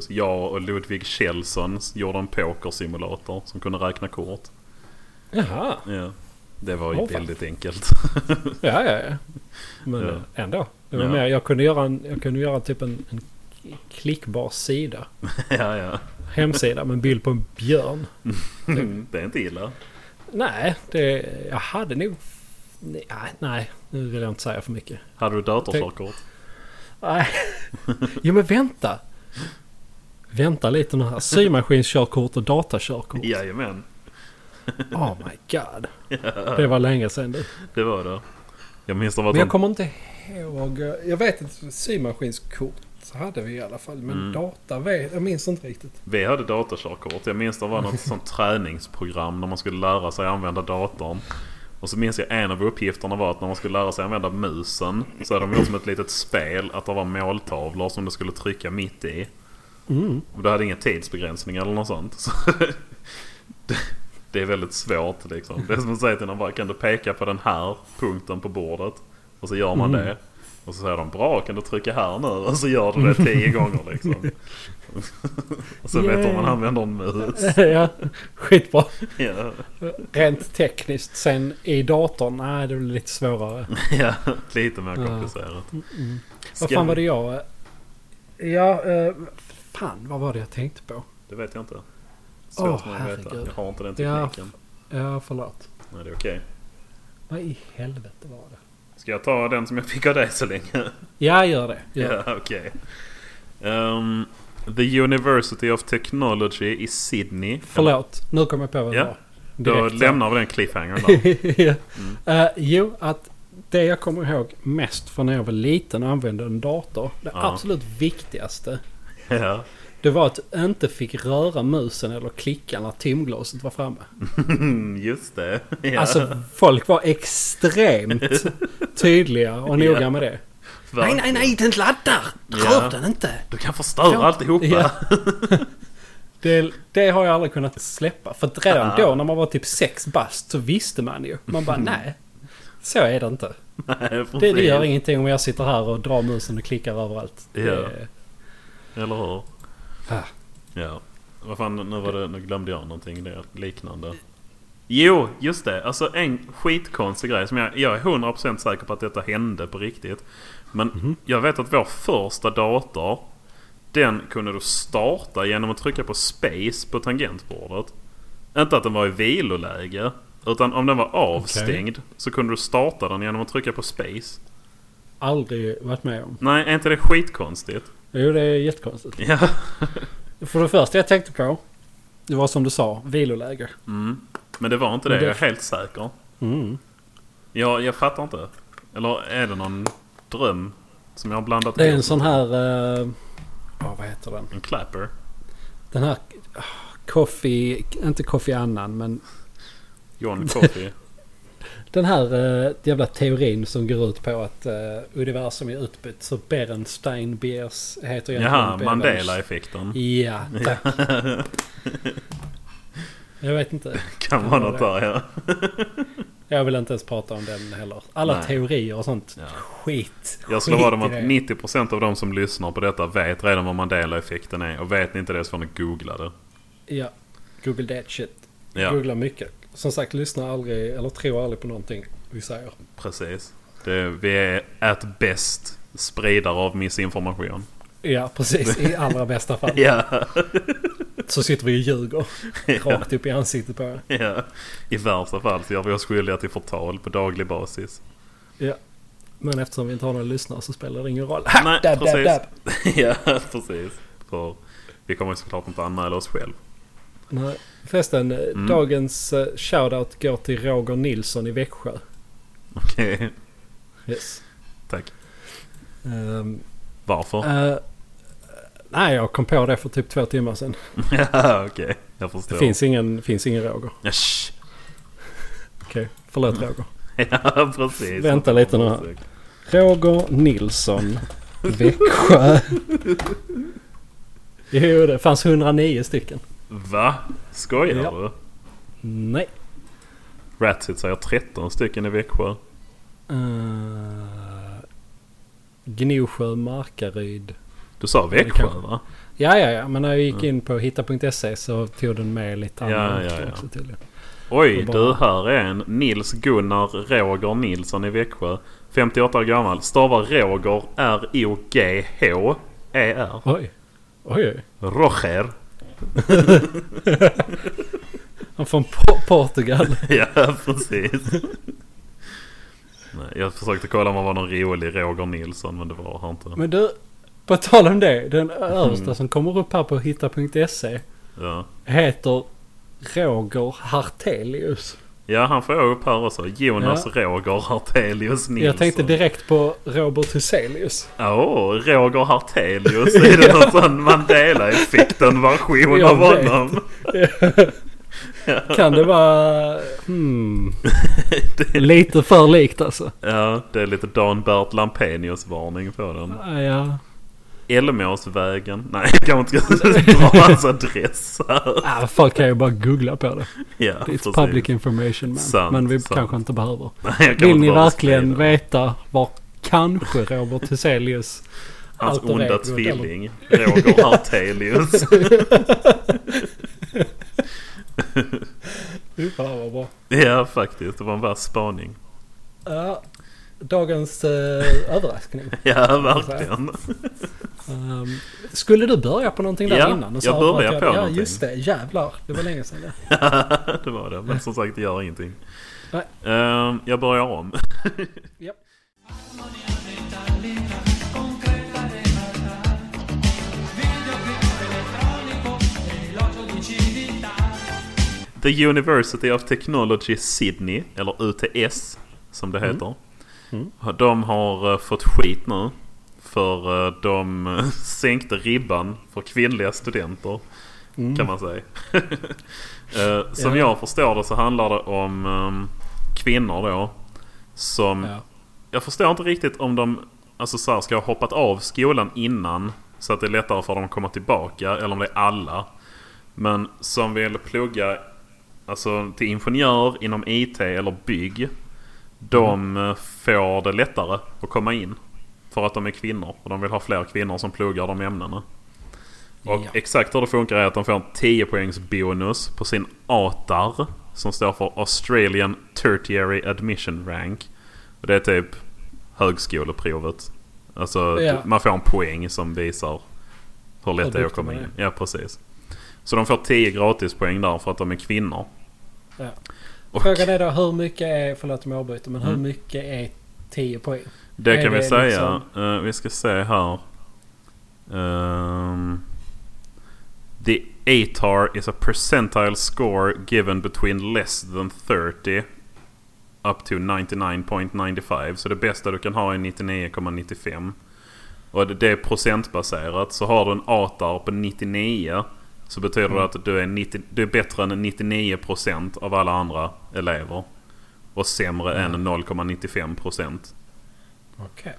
Jag och Ludvig Kjellson gjorde en pokersimulator som kunde räkna kort. Jaha, Ja. Det var ju Åh, fan. väldigt enkelt. ja ja ja. Men Ja. eh, ändå. Det var Ja. mer, jag kunde göra, en, jag kunde göra typ en, en klickbar sida. ja, ja. Hemsida med en bild på en björn. Mm. Det är inte illa. Nej, det, jag hade nog... Nej, nej, nu vill jag inte säga för mycket. Hade du datorkörkort? Nej. Jo men vänta. Vänta lite nu här. Symaskinskörkort och datakörkort. Jajamän, Oh my god. Det var länge sedan du. det var det. Jag minns det var Men jag ett kommer inte ihåg. Jag vet att symaskinskort hade vi i alla fall. Men data vet jag. minns inte riktigt. Vi hade datorkörkort. Jag minns det var något sånt träningsprogram när man skulle lära sig använda datorn. Och så minns jag en av uppgifterna var att när man skulle lära sig använda musen så hade de gjort som ett litet spel att det var måltavlor som du skulle trycka mitt i. Och du hade ingen tidsbegränsning eller något sånt. Så det, det är väldigt svårt liksom. Det är som att säga till någon bara kan du peka på den här punkten på bordet? Och så gör man Mm. det. Och så säger de bra kan du trycka här nu? Och så gör du det tio gånger liksom. Och sen vet de om man Yay. använder en mus. ja, skitbra. Ja, Rent tekniskt. Sen i datorn, nej det blir lite svårare. ja lite mer komplicerat. Vad Ska fan vi- var det jag... eh, Ja, eh, fan vad var det jag tänkte på? Det vet jag inte. Svårt Åh, oh, att veta. herregud. Jag har inte den Ja. tekniken. Ja, förlåt. Nej, det är okej. Vad i helvete var det? Ska jag ta den som jag fick av dig så länge? Ja, gör det. Gör det. Ja, okej. Ehm, the University of Technology i Sydney. Förlåt, nu kom jag på vad det Ja, var. Då Direkt. lämnar vi den cliffhangern där. ja. Eh, jo, att det jag kommer ihåg mest från när jag var liten och använde en dator. Det Ja. absolut viktigaste. ja. Det var att jag inte fick röra musen eller klicka när timglaset var framme. Mm, Just det. Ja, Alltså folk var extremt tydliga och noga Ja. med det. Nej, verkligen. nej, nej, den laddar! Rör Ja. den inte! Du kan förstöra alltihopa. Ja. Det, det har jag aldrig kunnat släppa. För att redan då när man var typ sex bast så visste man ju. Man bara nej. Så är det inte. Nej, Mm. precis. Det, det gör ingenting om jag sitter här och drar musen och klickar överallt. Ja. Det- Eller hur? Ah. Ja. Vad fan, nu, var det, nu glömde jag någonting det är liknande. Jo, just det. Alltså en skitkonstig grej som jag, jag är 100% säker på att detta hände på riktigt. Men Mhm. jag vet att vår första dator, den kunde du starta genom att trycka på space på tangentbordet. Inte att den var i viloläge, utan om den var avstängd så kunde du starta den genom att trycka på space. Aldrig varit med om. Nej, är inte det skitkonstigt? Jo, det är jättekonstigt. Ja. För det första jag tänkte på, det var som du sa, viloläge. Men det var inte det, Men det- jag är helt säker. Mm. Jag, jag fattar inte. Eller är det någon dröm som jag har blandat Det är en ihop? sån här... eh, Ja, vad heter den? En clapper? Den här... ah, Coffee... Inte Coffee Annan, men John Coffey? Den här eh, jävla teorin som går ut på att eh, universum är utbytt. Så Berenstein Beers heter Jaha, Berenstein. Mandela-effekten. Ja, tack. Jag vet inte. Kan vara något där ja. Jag vill inte ens prata om den heller. Alla Nej. teorier och sånt. Ja. Skit. Jag slår vad om Skit att i det. 90% av de som lyssnar på detta vet redan vad Mandela-effekten är. Och vet ni inte det så får ni googla det. Ja, Google that shit. Ja, Googla mycket. Som sagt, lyssna aldrig eller tro aldrig på någonting vi säger. precis. Det, vi är at bäst spridare av missinformation. Ja, precis. I allra bästa fall. Ja. Så sitter vi och ljuger. Rakt upp i ansiktet på er. ja. I värsta fall så gör vi oss skyldiga till förtal på daglig basis. Ja. Men eftersom vi inte har några lyssnare så spelar det ingen roll. Nej, dab, dab, precis. dab. ja, precis. För vi kommer ju såklart inte anmäla oss själv. Nej. Förresten, eh, Mm. dagens eh, shoutout går till Roger Nilsson i Växjö. Okej, Yes. tack. Ehm, Varför? eh, nej, jag kom på det för typ två timmar sedan. ja, okej. Jag Det förstår. finns ingen, finns ingen Roger. Ja, shh. Okej, förlåt Mm. Roger. ja precis. Vänta lite nu här. Roger Nilsson, Växjö. Jo, det fanns 109 stycken. Va? Skojar Ja. du? Nej. Ratsit säger 13 stycken i Växjö. Eh, Gnosjö, Markaryd. Du sa det Växjö kan- va? Ja, ja, ja. Men när jag gick in på hitta.se så tog den med lite Ja, andra ja, ja. också tydligen. Oj, Och bara- du här är en Nils Gunnar Roger Nilsson i Växjö. 58 år gammal. Stavar Roger R-O-G-H-E-R. Oj. Oj, oj. E Roger. Han är från po- Portugal. Ja, precis. Nej, jag försökte kolla om han var någon rolig Roger Nilsson men det var han inte. Men du, på tal om det. Den översta Mm. som kommer upp här på hitta.se Ja. heter Roger Hartelius. ja, han får jag upp här också. Jonas Roger Hartelius Nilsson. Jag tänkte direkt på Robert Huselius. Åh, Roger Hartelius. Är det någon sån Mandela-effekten-version Jag av vet. honom? Kan det vara... Hmm. Lite för likt alltså. Ja, det är lite Dan Bert Lampenius-varning på den. Ja, Ja, Älmåsvägen. Nej, jag kanske inte ska dra hans adress här. ah, folk kan ju bara googla på det. Ja, It's precis. public information man. Sant, Men vi sant. kanske inte behöver. Nej, jag kan Vill inte ni bara verkligen sprida veta var kanske Robert Huselius... Hans alter onda ego, tvilling, Roger Hartelius. Fy fan vad bra. Ja, faktiskt. Det var en vass spaning. Ja, dagens eh, överraskning. Ja, verkligen. Ehm, skulle du börja på någonting där Ja, innan? jag avbröt börjar på Ja, någonting. just det. Jävlar. Det var länge sedan det. det var det. Men som sagt, det gör ingenting. Nej. Ehm, jag börjar om. Japp. The University of Technology Sydney, eller UTS som Mm. det heter. De har eh, fått skit nu. För eh, de eh, sänkte ribban för kvinnliga studenter. Kan man säga. Eh, som Mm. Ja. jag förstår det så handlar det om ehm, kvinnor då. Som Ja. jag förstår inte riktigt om de alltså så här, ska ha hoppat av skolan innan så att det är lättare för dem att komma tillbaka eller om det är alla. Men som vill plugga alltså, till ingenjör inom IT eller bygg. De eh, får det lättare att komma in. För att de är kvinnor och de vill ha fler kvinnor som pluggar de ämnena. Och Ja. exakt hur det funkar är att de får en 10 poängs bonus på sin ATAR. Som står för Australian Tertiary Admission Rank. Och det är typ högskoleprovet. Alltså Ja. man får en poäng som visar hur lätt det är duktig att komma man är. in. Ja precis. Så de får 10 gratispoäng där för att de är kvinnor. Ja. Och Mm. Frågan är då hur mycket är, förlåt om jag avbryter, men hur mycket är 10 poäng? det är kan vi det säga. liksom- Eh, vi ska se här. Ehm, the ATAR is a percentile score given between less than 30 up to 99.95. Så det bästa du kan ha är 99,95. Och det- det är procentbaserat. Så har du en ATAR på 99 så betyder Mm. det att du är, 90, du är bättre än 99% av alla andra elever. Och sämre Mm. än 0,95%. Okej.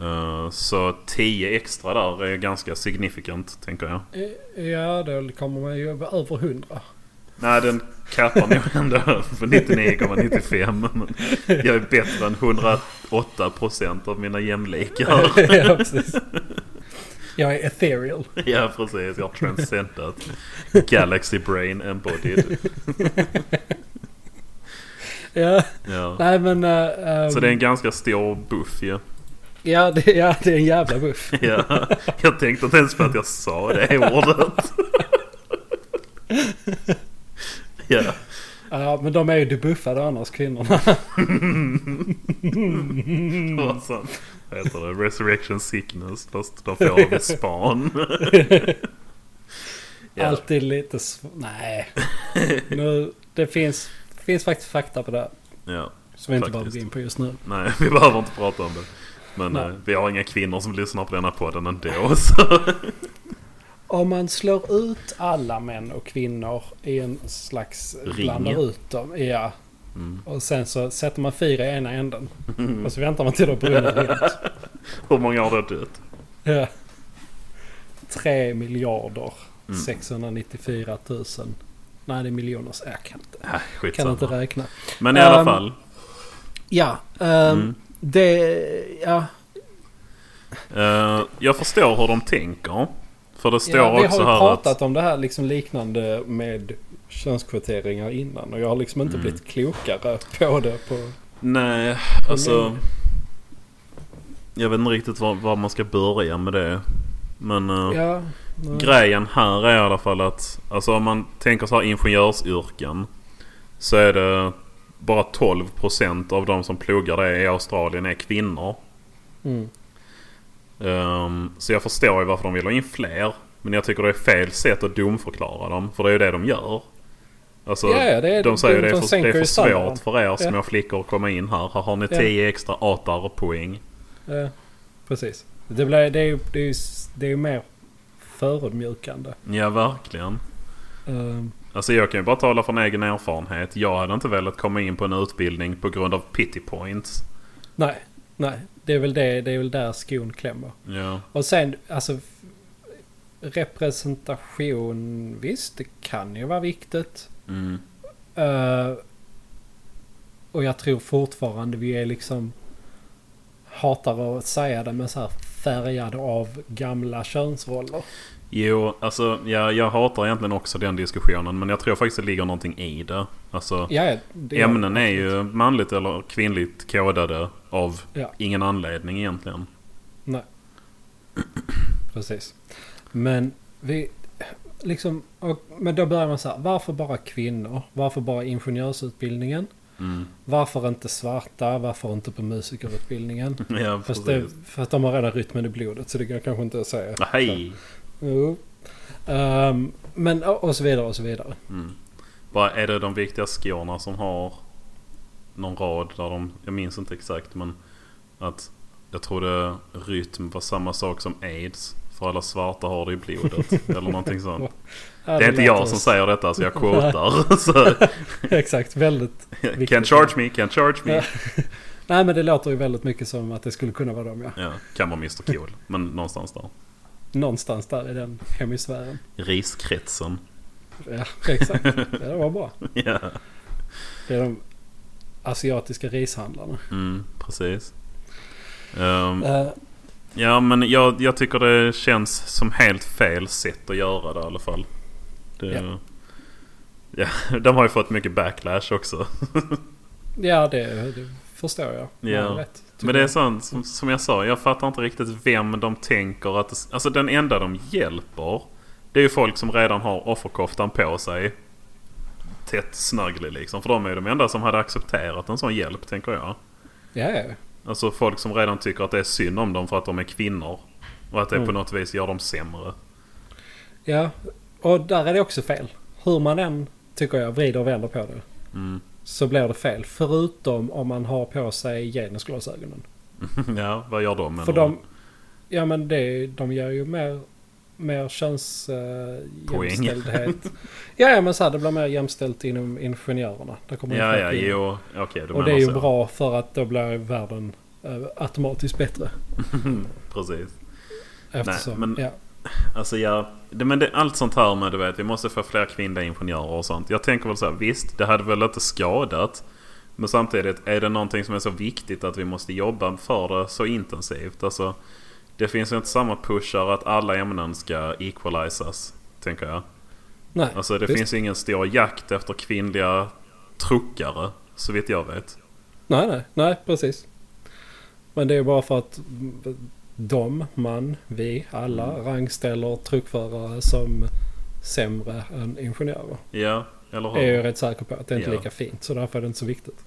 Eh, Så 10 extra där är ganska signifikant, tänker jag. Eh, Ja, då kommer man ju över 100. Nej, den kappar nog ändå på 99,95. men Jag är bättre än 108 procent av mina jämlikar. ja, precis. Jag är ethereal. Ja, precis. Jag har transcendat Galaxy Brain Embodied. Ja. Ja. Nej, men... ehm, eh, ehm, Så det är en ganska stor buff ju. Ja det, ja, det är en jävla buff. ja, jag tänkte inte ens på att jag sa det ordet. ja. Ja, men de är ju debuffade annars, kvinnorna. Mm. Vad sen, vad heter det? Resurrection sickness fast då får vi span. Ja. Alltid lite sv- Nej. Nu, det finns, finns faktiskt fakta på det här, ja. Som vi inte bara Faktiskt. går in på just nu. Nej, vi behöver inte prata om det. Men Nej. eh, vi har inga kvinnor som lyssnar på denna podden ändå. Så. Om man slår ut alla män och kvinnor i en slags... Ring. Blandar ut dem. Ja. Mm. Och sen så sätter man fyra i ena änden. Och så väntar man till de brinner rent. Hur många har då dött? Ja. 3 miljarder Mm. 694 000. Nej, det är miljoner. så Jag kan inte, Nej, kan inte Äh, skitsamma. räkna. Men i alla Ehm, fall. Ja, ehm, Mm. det... Ja, Eh, jag förstår hur de tänker. För det står ja, vi också har ju här pratat att... om det här liksom liknande med könskvoteringar innan. Och jag har liksom inte Mm. blivit klokare på det. På, Nej, på alltså... länge. Jag vet inte riktigt var, var man ska börja med det. Men eh, Ja, nej. grejen här är i alla fall att... Alltså om man tänker så här ingenjörsyrken. Så är det bara 12% av de som pluggar det i Australien är kvinnor. Mm. Ehm, så jag förstår ju varför de vill ha in fler. Men jag tycker det är fel sätt att domförklara dem. För det är ju det de gör. Alltså, Ja, ja, det är de säger dumt, det är de för, det sänker är för ju standarden. svårt för er små Ja. flickor att komma in här. Här har ni Ja. 10 extra ATAR-poäng. Ja, precis. Det, blir, det, är, ju- det, är, ju- det är ju mer förödmjukande. Ja, verkligen. Ehm, Alltså jag kan ju bara tala från egen erfarenhet. Jag hade inte velat komma in på en utbildning på grund av pity points. nej, nej. Det är, väl det, det är väl där skon klämmer. Ja, Och sen, alltså... f- Representation, visst, det kan ju vara viktigt. mm. Eh, och jag tror fortfarande vi är liksom... Hatar att säga det, men så här färgade av gamla könsroller. Jo, alltså ja, jag hatar egentligen också den diskussionen. Men jag tror faktiskt det ligger någonting i det. Alltså, Ja, ja, det gör Ämnen det. är ju manligt eller kvinnligt kodade av Ja. ingen anledning egentligen. Precis. Men vi... Liksom, och, men då börjar man så här, varför bara kvinnor? Varför bara ingenjörsutbildningen? Mm. Varför inte svarta? Varför inte på musikerutbildningen? Ja, Fast det, precis. för att de har redan rytmen i blodet så det kan jag kanske inte säga. Hej! Jo. Ehm, men och, och så vidare och så vidare. Mm. Bara, är det de viktiga skorna som har någon rad där de, jag minns inte exakt men att jag trodde rytm var samma sak som aids. För alla svarta har det i blodet. eller någonting sånt. Ja, Det är inte jag låter som s- säger detta så jag quotar. så, Exakt, väldigt. can Viktigt. charge me, can charge me. Ja. Nej men det låter ju väldigt mycket som att det skulle kunna vara dem ja. Ja, kan vara Mr Cool. Men någonstans där. Någonstans där i den hemisfären. Riskretsen. Ja, exakt. Ja, det var bra. Ja. Det är de asiatiska rishandlarna. Mm, precis. Ehm, Eh, ja, men jag, jag tycker det känns som helt fel sätt att göra det i alla fall. Det, Ja. ja, de har ju fått mycket backlash också. ja, det, det förstår jag. Man Ja. har rätt, tycker Men det är jag. sånt som, som jag sa, jag fattar inte riktigt vem de tänker att... Alltså den enda de hjälper, det är ju folk som redan har offerkoftan på sig. Tätt snöglig liksom. För de är ju de enda som hade accepterat en sån hjälp, tänker jag. Ja, ja. Alltså folk som redan tycker att det är synd om dem för att de är kvinnor. Och att det Mm. på något vis gör dem sämre. ja, och där är det också fel. Hur man än, tycker jag, vrider och vänder på det. Mm. Så blir det fel. Förutom om man har på sig genusglasögonen. ja, vad gör de? För menar de... Ja, men det, de gör ju mer... Mer könsjämställdhet. ja, ja, men så här, det blir mer jämställt inom ingenjörerna. Där du? kommer Ja, det ja, folk in. jo. Okej, du Och menar det är ju så. bra för att då blir världen eh, automatiskt bättre. Precis. Eftersom, men- ja. Alltså ja, det, men det, allt sånt här med du vet, vi måste få fler kvinnliga ingenjörer och sånt. Jag tänker väl så här, visst, det hade väl inte skadat. Men samtidigt, är det någonting som är så viktigt att vi måste jobba för det så intensivt? Alltså, det finns ju inte samma pushar att alla ämnen ska equalizas, tänker jag. Nej, Alltså det visst. finns ingen stor jakt efter kvinnliga truckare, så vitt jag vet. nej, nej, nej, precis. Men det är bara för att de, man, vi, alla Mm. rangställer truckförare som sämre än ingenjörer. Ja, eller Jag är ju rätt säker på att det inte är Ja. lika fint så därför är det inte så viktigt.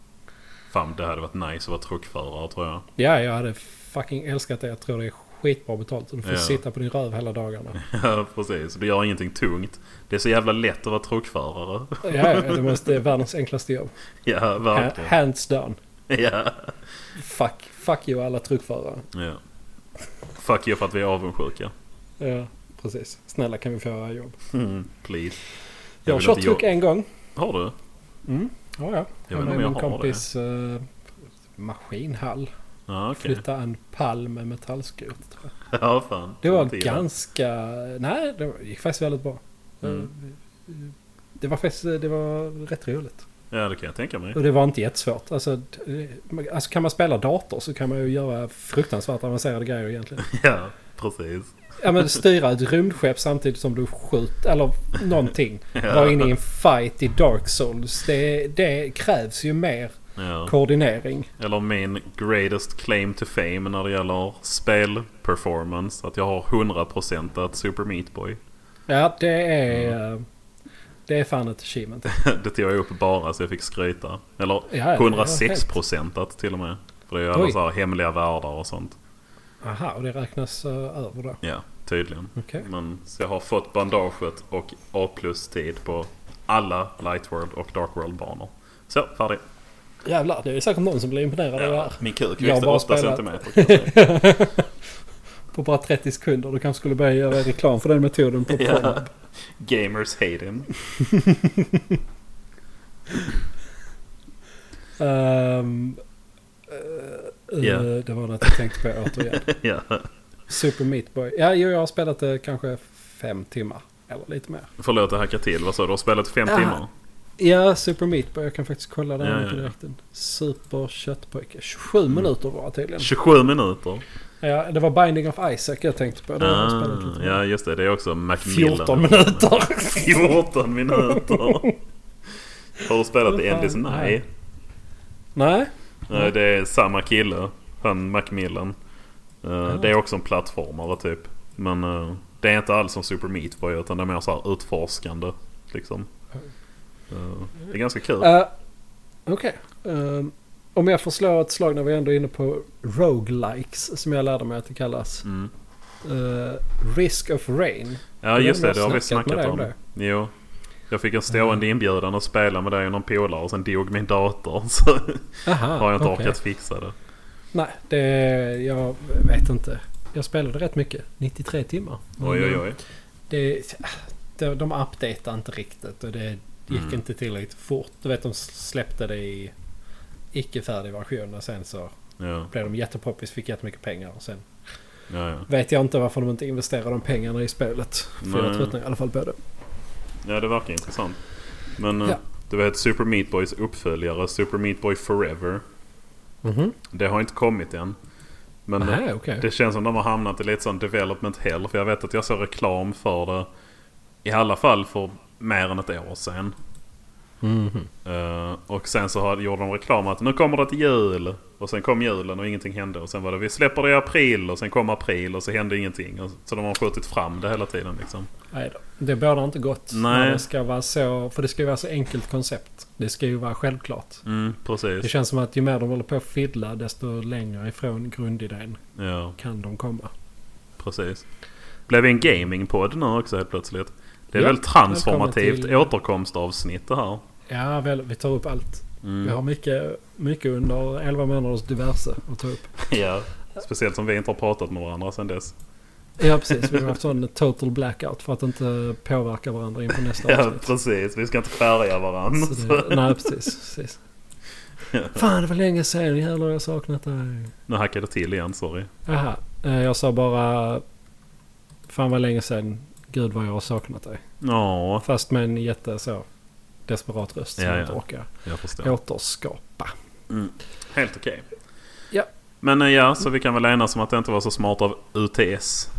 Fan, det hade varit nice att vara truckförare tror jag. Ja, jag hade fucking älskat det. Jag tror det är skitbra betalt och du får Ja. sitta på din röv hela dagarna. Ja, precis. Du gör ingenting tungt. Det är så jävla lätt att vara truckförare. Ja, ja, det måste det är världens enklaste jobb. Ja, Ha- verkligen. Hands down. Ja. Fuck, fuck you alla truckförare. ja. Fuck you för att vi är avundsjuka. Ja, precis. Snälla kan vi få göra jobb? Mm, please. Jag har vill kört inte jobba- truck en gång. Har du? Ja, ja. Jag Jag vet inte var om i jag min har kompis eh, maskinhall. Ja, okej. Flytta en palm med metallskrot. tror jag. Ja, fan. Det var Inte illa. ganska... Nej, det var- gick faktiskt väldigt bra. Mm. Eh, Det var faktiskt eh, det var rätt roligt. Ja, det kan jag tänka mig. Och det var inte jättesvårt. Alltså, eh, man- alltså kan man spela dator så kan man ju göra fruktansvärt avancerade grejer egentligen. Ja, precis. Ja men styra ett rymdskepp samtidigt som du skjuter, eller någonting. Vara inne i en fight i Dark Souls. Det, det krävs ju mer Ja. koordinering. Eller min greatest claim to fame när det gäller spelperformance. Att jag har 100% Super Meat Boy. Ja, det är... eh, Det är fan ett achievement. Det tog jag upp bara så jag fick skryta. Eller det var 106% till och med. För det är ju alla Oj. så här hemliga världar och sånt. Aha, och det räknas eh, över då. Ja, tydligen. Okej. Men, så jag har fått bandaget och A plus-tid på alla Light World och Dark World-banor. Så, färdig. Jävlar, det är säkert någon som blir imponerad av det här. min kuk Jag har växte bara 8 spelat- centimeter. kan jag säga. På bara 30 sekunder. Du kanske skulle börja göra reklam för den metoden på ja. Pornhub. Gamers hate him. Ehm, eh, Ja. Det var något jag tänkte på återigen. ja. Super Meat Boy. Ja, jo, jag har spelat det kanske fem timmar. Eller lite mer. Förlåt, jag hackar till. Vad sa du? Du har spelat fem Ja. timmar? Ja, Super Meat Boy. Jag kan faktiskt kolla den Ja, här ja, Mm. på ja. direkten. Super Köttpojke. 27 minuter var det tydligen. 27 minuter. Ja, det var Binding of Isaac jag tänkte på. Det har jag spelat lite Ah, mer. ja, just det. Det är också Macmillan. 14 minuter. 14 minuter. Har du spelat The Vad fan? Endless? Nej. Nej. Nej, Det är samma kille. Han Macmillan. Eh, Det är också en plattformare typ. Men eh, det är inte alls som Super Meat Boy utan det är mer så här utforskande. Liksom. Eh, det är ganska kul. Eh, Okej. Ehm, om jag får slå ett slag när vi ändå är inne på roguelikes som jag lärde mig att det kallas. Mm. Eh, Risk of Rain. Ja just det, jag det har vi snackat med snackat dig om om. Jo. Jag fick en stående inbjudan att spela med dig och någon polare och sen dog min dator. Så Aha, har jag inte Ah, okej. orkat fixa det. Nej, det, jag vet inte. Jag spelade rätt mycket. 93 timmar. Oj oj oj. Det, de, de updateade inte riktigt och det gick Mm. inte tillräckligt fort. Du vet, de släppte det i icke färdig version och sen så Ja, blev de jättepoppis, fick jättemycket pengar och sen ja, ja. vet jag inte varför de inte investerade de pengarna i spelet. För Nej. jag tröttnade i alla fall på det. ja det verkar intressant. Men eh, Ja. du vet Super Meat Boys uppföljare, Super Meat Boy Forever. Mhm. Det har inte kommit än. Men eh, Nej, okej. det känns som de har hamnat i lite sån development hell. För jag vet att jag såg reklam för det. I alla fall för mer än ett år sedan. Eh, och sen så har, gjorde de reklam att nu kommer det till jul. Och sen kom julen och ingenting hände. Och sen var det vi släpper det i april och sen kom april och så hände ingenting. Och, så de har skjutit fram det hela tiden liksom. Nej då. Det bådar inte gott. Nej. När Det ska vara så, för det ska ju vara så enkelt koncept. Det ska ju vara självklart. Mm, Det precis. känns som att ju mer de håller på att fiddla desto längre ifrån grundidén Ja, kan de komma. precis. Blev vi en gamingpodd nu också helt plötsligt. Det är Ja, väl transformativt välkommen till- återkomstavsnitt det här. Ja, väl, vi tar upp allt. Vi Mm. har mycket, mycket under 11 månaders diverse att ta upp. Ja. Speciellt som vi inte har pratat med varandra sedan dess. Ja, precis. Vi har haft sån total blackout för att inte påverka varandra inför nästa Ja, avsnitt. precis. Vi ska inte färga varandra. Så det, nej, precis. precis. Fan, det var länge sedan. Jävlar, jag har saknat dig. Nu hackade det till igen, sorry. Aha, eh, jag sa bara... Fan, vad länge sedan. Gud, vad jag har saknat dig. Ja, Fast med en jätte så desperat röst som Ja, jag ja. inte orkar jag förstår. återskapa. Helt okej. Ja. Men eh, ja, så vi kan väl enas om att det inte var så smart av UTS.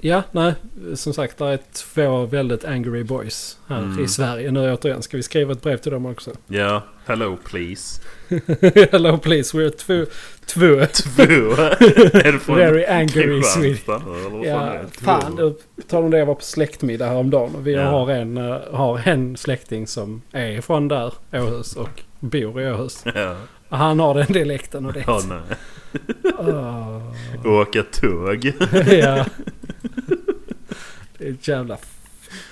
Ja, nej. Som sagt, det är två väldigt angry boys här Mm. i Sverige nu återigen. Ska vi skriva ett brev till dem också? Ja, hello please. Hello please, we're two... Två. Två. Är det från Very angry Kristianstad, Sweden. eller vad fan är Ja, det? Två. fan. På tal om det, jag var på släktmiddag häromdagen. Och vi Ja. har, en, eh, har en släkting som är från där, Åhus, och bor i Åhus. Ja. Och Han har den dialekten och det. Ja, nej. Åh. Åka tåg. ja. Det är ett jävla... f-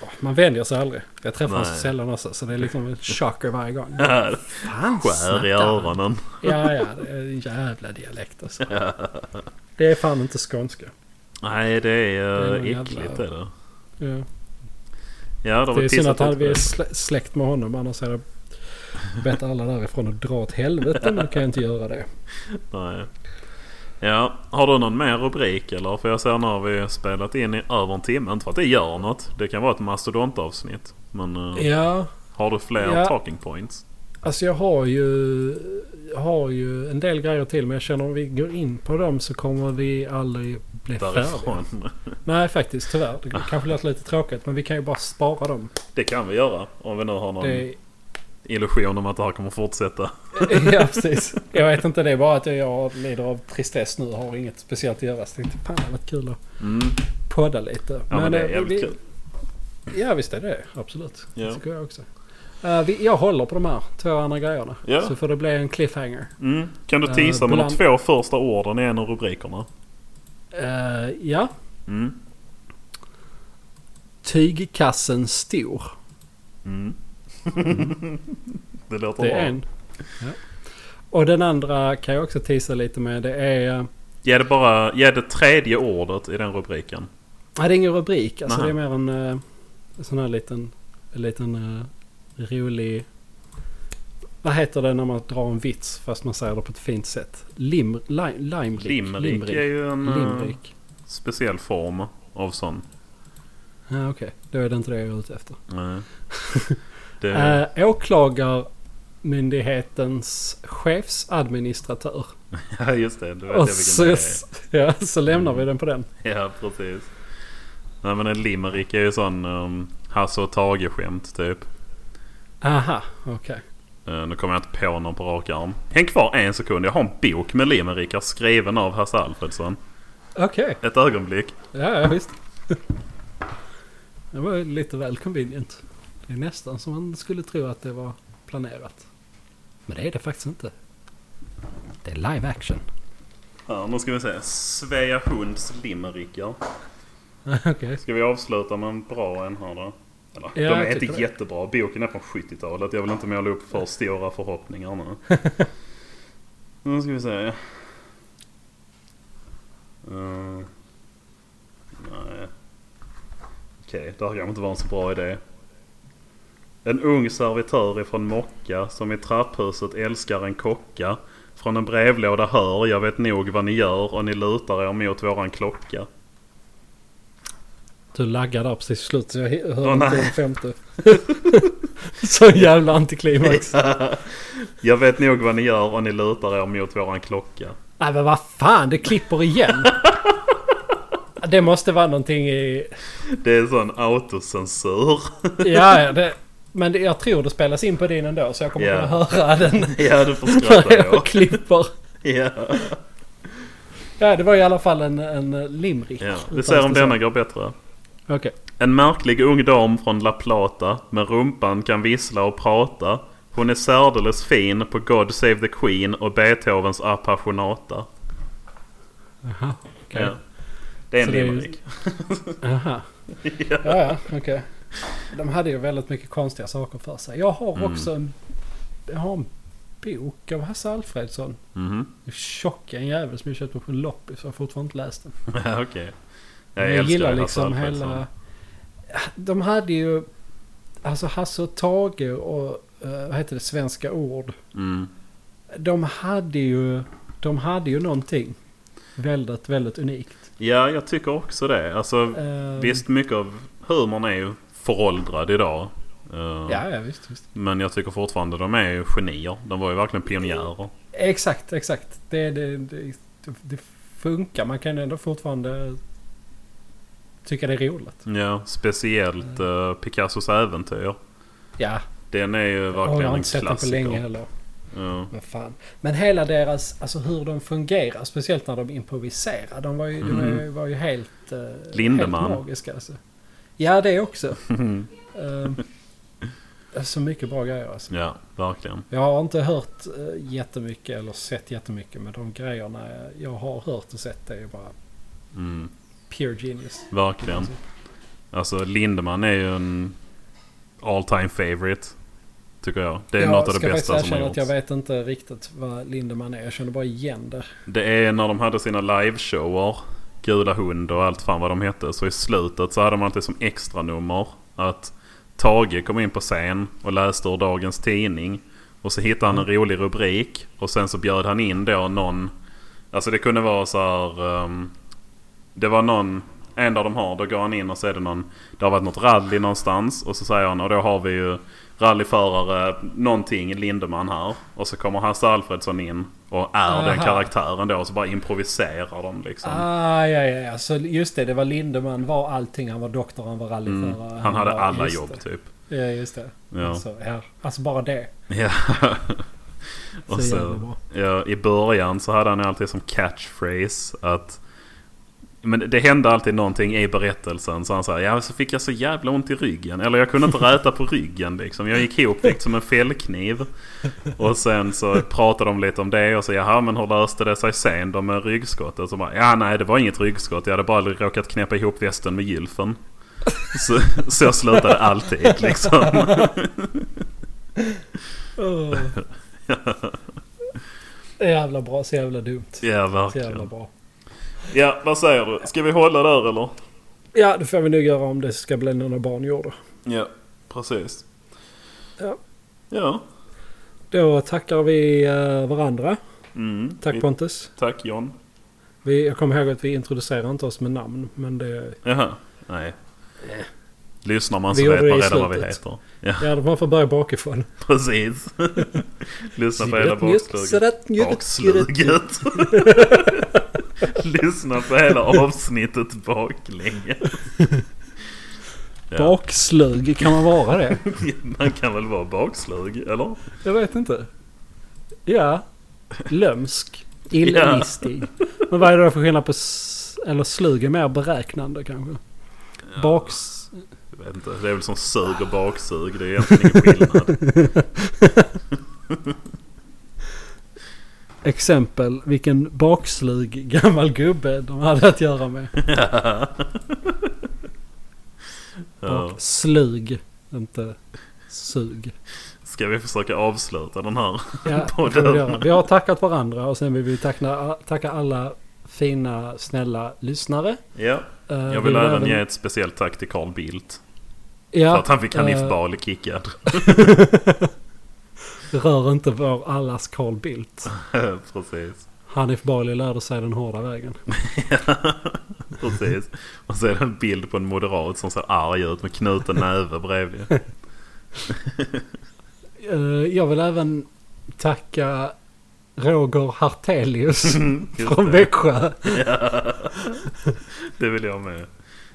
Åh, Man vänjer sig aldrig. Jag träffar honom så Nej. sällan också. Så det är liksom en chocker varje gång. Här. Fan, Skär i snackar han? öronen. Ja, ja. Det är en jävla dialekt alltså. Det är fan inte skånska. Nej, det Det är är nog uh, jävla- äckligt är det. Ja. Ja, de Det är synd att han, ut på vi är det. slä- släkt med honom. Annars hade jag bett alla därifrån att dra åt helvete. Men då kan jag inte göra det. Nej. Ja, har du någon mer rubrik eller? För jag ser nu har vi spelat in i över en timme. Inte för att det gör något. Det kan vara ett mastodontavsnitt. Men eh, Ja, har du fler Ja. talking points? Alltså jag har ju, jag har ju en del grejer till men jag känner om vi går in på dem så kommer vi aldrig bli färdiga. Därifrån. Nej faktiskt tyvärr. Det kanske låter lite tråkigt men vi kan ju bara spara dem. Det kan vi göra. Om vi nu har någon Det, illusion om att det här kommer fortsätta. ja precis. Jag vet inte det är bara att jag lider av tristess nu och har inget speciellt att göra. Så jag tänkte fan det hade varit kul att Mm. podda lite. Ja men, det är eh, jävligt vi, kul. Ja visst är det Absolut. Ja. Det tycker jag också. Eh, vi, jag håller på de här två andra grejerna. Ja. Så får det bli en cliffhanger. Mm. Kan du Eh, tisa med de bland- två första orden i en av rubrikerna? Eh, ja. Mm. Tygkassen stor. Mm. det låter Det bra. är en. Och den andra kan jag också tisa lite med. Det är... eh, Ge det bara, ge det tredje ordet i den rubriken. Nej, det är ingen rubrik. Alltså, Nähä. det är mer en eh, en sån här liten, en liten eh, rolig... Vad heter det när man drar en vits fast man säger det på ett fint sätt? Lim, li, limrik. Limerick, är ju en eh, Limrik. speciell form av sån. Ja, Okej, då är det inte det jag är ute efter. Nej. Eh, Det, Eh, åklagarmyndighetens chefsadministratör. ja just det, du vet Och jag vilken det så, är. ja, så lämnar vi den på den. Ja precis. Nej men en limerick är ju sån um, Hasse och Tage-skämt typ. Aha, okej. Eh, nu kommer jag inte på någon på rak arm. Häng kvar en sekund, jag har en bok med limerickar skriven av Hasse Alfredsson. Okej. Ett ögonblick. Ja, ja visst. Det var ju lite väl convenient. Det är nästan som man skulle tro att det var planerat. Men det är det faktiskt inte. Det är live action. Här, nu ska vi se. Svea Hunds limerickar. Okej. Ska vi avsluta med en bra en här då? Eller, Ja, de jag är inte tycker det. jättebra. Boken är från 70-talet. Jag vill inte måla upp för stora förhoppningar nu. nu ska vi se. Eh, nej. Okej, det här kanske inte var en så bra idé. En ung servitör ifrån Mocka som i trapphuset älskar en kocka. Från en brevlåda hör jag vet nog vad ni gör och ni lutar er mot våran klocka. Du laggade där precis i slutet så jag hörde Åh, inte nej. den femte. så jävla antiklimax. Jag vet nog vad ni gör och ni lutar er mot våran klocka. Nej men vad fan, det klipper igen. Det måste vara någonting i... Det är sån autocensur. Ja, ja, det... Men det, jag tror det spelas in på din ändå så jag kommer Ja. kunna höra den Ja, du får när skratta då. jag klipper. Ja. Ja, det var i alla fall en, en limrik. Ja. Vi ser om denna går bättre. Okej. En märklig ung dam från La Plata med rumpan kan vissla och prata. Hon är särdeles fin på God Save the Queen och Beethovens Appassionata. Aha, okej. Ja. Det är en Så det är ju- limerick. Aha. Ja, ja, okej. De hade ju väldigt mycket konstiga saker för sig. Jag har Mm. också en, jag har en bok av Hasse Alfredsson. Mhm. Tjocka en jävel som jag köpte på en loppis. Jag har fortfarande inte läst den. Ja, okej. Men älskar gillar Hasse liksom Alfredsson. hela... De hade ju... Alltså Hasse och Tage och... eh, Vad heter det? Svenska ord. Mm. De hade ju... De hade ju någonting. Väldigt, väldigt unikt. Ja, jag tycker också det. Alltså, Eh, Visst, mycket av humorn är ju föråldrad idag. Eh, Ja, ja visst, visst. Men jag tycker fortfarande de är ju genier. De var ju verkligen pionjärer. Exakt, exakt. Det, det, det, det funkar. Man kan ändå fortfarande tycka det är roligt. Ja, speciellt eh, Picassos äventyr. Ja, Den är ju och jag verkligen har en inte sett den på klassiker. länge heller. Ja. Men fan. Men hela deras, alltså hur de fungerar, speciellt när de improviserar. De var ju, de var Mm. ju, var ju helt, eh, Lindemann. helt magiska. Alltså. Ja, det också. Ehm, det är så mycket bra grejer alltså. ja, verkligen. Jag har inte hört eh, jättemycket eller sett jättemycket men de grejerna jag har hört och sett det är ju bara Mm, pure genius. Mm. verkligen. Alltså Lindemann är ju en all time favorite. Tycker jag. Det är jag något av det ska bästa faktiskt som har erkänna att jag gjorts. vet inte riktigt vad Lindemann är. Jag känner bara igen det. Det är när de hade sina liveshower. Gula hund och allt fan vad de hette. Så i slutet så hade de alltid som extra nummer att Tage kom in på scen och läste ur dagens tidning. Och så hittade han en rolig rubrik. Och sen så bjöd han in då någon. Alltså det kunde vara så här. ehm, det var någon. En dag de har, då går han in och så är det någon. Det har varit något rally någonstans. Och så säger han och då har vi ju rallyförare någonting Lindeman här. Och så kommer Hasse Alfredsson in och är den Aha. karaktären då. Och så bara improviserar de liksom. Ah, ja, ja, ja. Så just det, det var Lindemann var allting. Han var doktor, han var rallyförare. Mm. Han hade var- alla just jobb det. typ. Ja, just det. Ja. Alltså, ja. alltså bara det. Ja. Så och jävla så, bra. ja, I början så hade han alltid som catchphrase att... Men det hände alltid någonting i berättelsen. Så han sa ja så fick jag så jävla ont i ryggen. Eller jag kunde inte räta på ryggen liksom. Jag gick ihopvikt som en fällkniv. Och sen så pratade de lite om det och så jaha men hur löste det sig sen då med ryggskottet? Så bara, ja nej det var inget ryggskott. Jag hade bara råkat knäppa ihop västen med gylfen. Så, så slutade det alltid liksom. Oh. jävla bra, så jävla dumt. Ja Så jävla verkligen. bra. Ja, vad säger du? Ska vi hålla där eller? Ja, det får vi nog göra om det ska bli några barn gjorde. Ja, precis. Ja. Ja. Då tackar vi eh, varandra. Mm. Tack Vi- Pontus. Tack John. Vi, jag kommer ihåg att vi introducerar inte oss med namn, men det... Jaha, nej. Lyssnar man Eh. Vi så gjorde vet det i man redan vad vi slutet. heter. Ja, Ja, man får börja bakifrån. precis. Lyssna på Cigarett, hela mjukt, baksluget. cigarett, mjukt, cigarett. Baksluget. Lyssna på hela avsnittet baklänges. Ja. Bakslug, kan man vara det? Man kan väl vara bakslug, eller? Jag vet inte. Ja. Lömsk. Illnistig. Men vad är det då för skillnad på... s- Eller slug är mer beräknande kanske? Baks... Jag vet inte. Det är väl som sug och baksug. Det är egentligen ingen skillnad. Exempel. Vilken bakslug gammal gubbe de hade att göra med. Ja. Bakslug. Inte sug. Ska vi försöka avsluta den här? Ja, det får vi, göra. vi har tackat varandra och sen vill vi tacka, tacka alla fina, snälla lyssnare. Ja. Eh, Jag vi vill även ge ett speciellt tack till Carl Bildt. För Ja, att han fick Hanif eh, Bali kickad. Rör inte vår allas Carl Bildt. precis. Hanif Bali lärde sig den hårda vägen. precis. Och så är det en bild på en moderat som ser arg ut med knuten näve bredvid. Eh, Jag vill även tacka Roger Hartelius Just från det. Växjö. det vill jag med.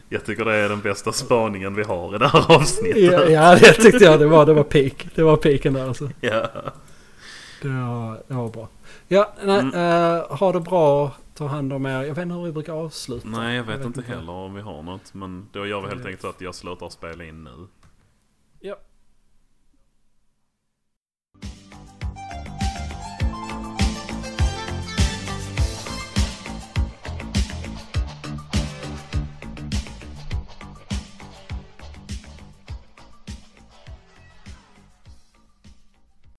Jag tycker det är den bästa spaningen vi har i det här avsnittet. Ja, ja, det tyckte jag det var. Det var peak. Det var peaken där alltså. Ja. Det var, det var bra. Ja, nej, Mm. eh, ha det bra. Ta hand om er. Jag vet inte hur vi brukar avsluta. Nej, jag vet inte heller om vi har något. Men då gör vi helt enkelt så att jag slutar spela in nu. Ja.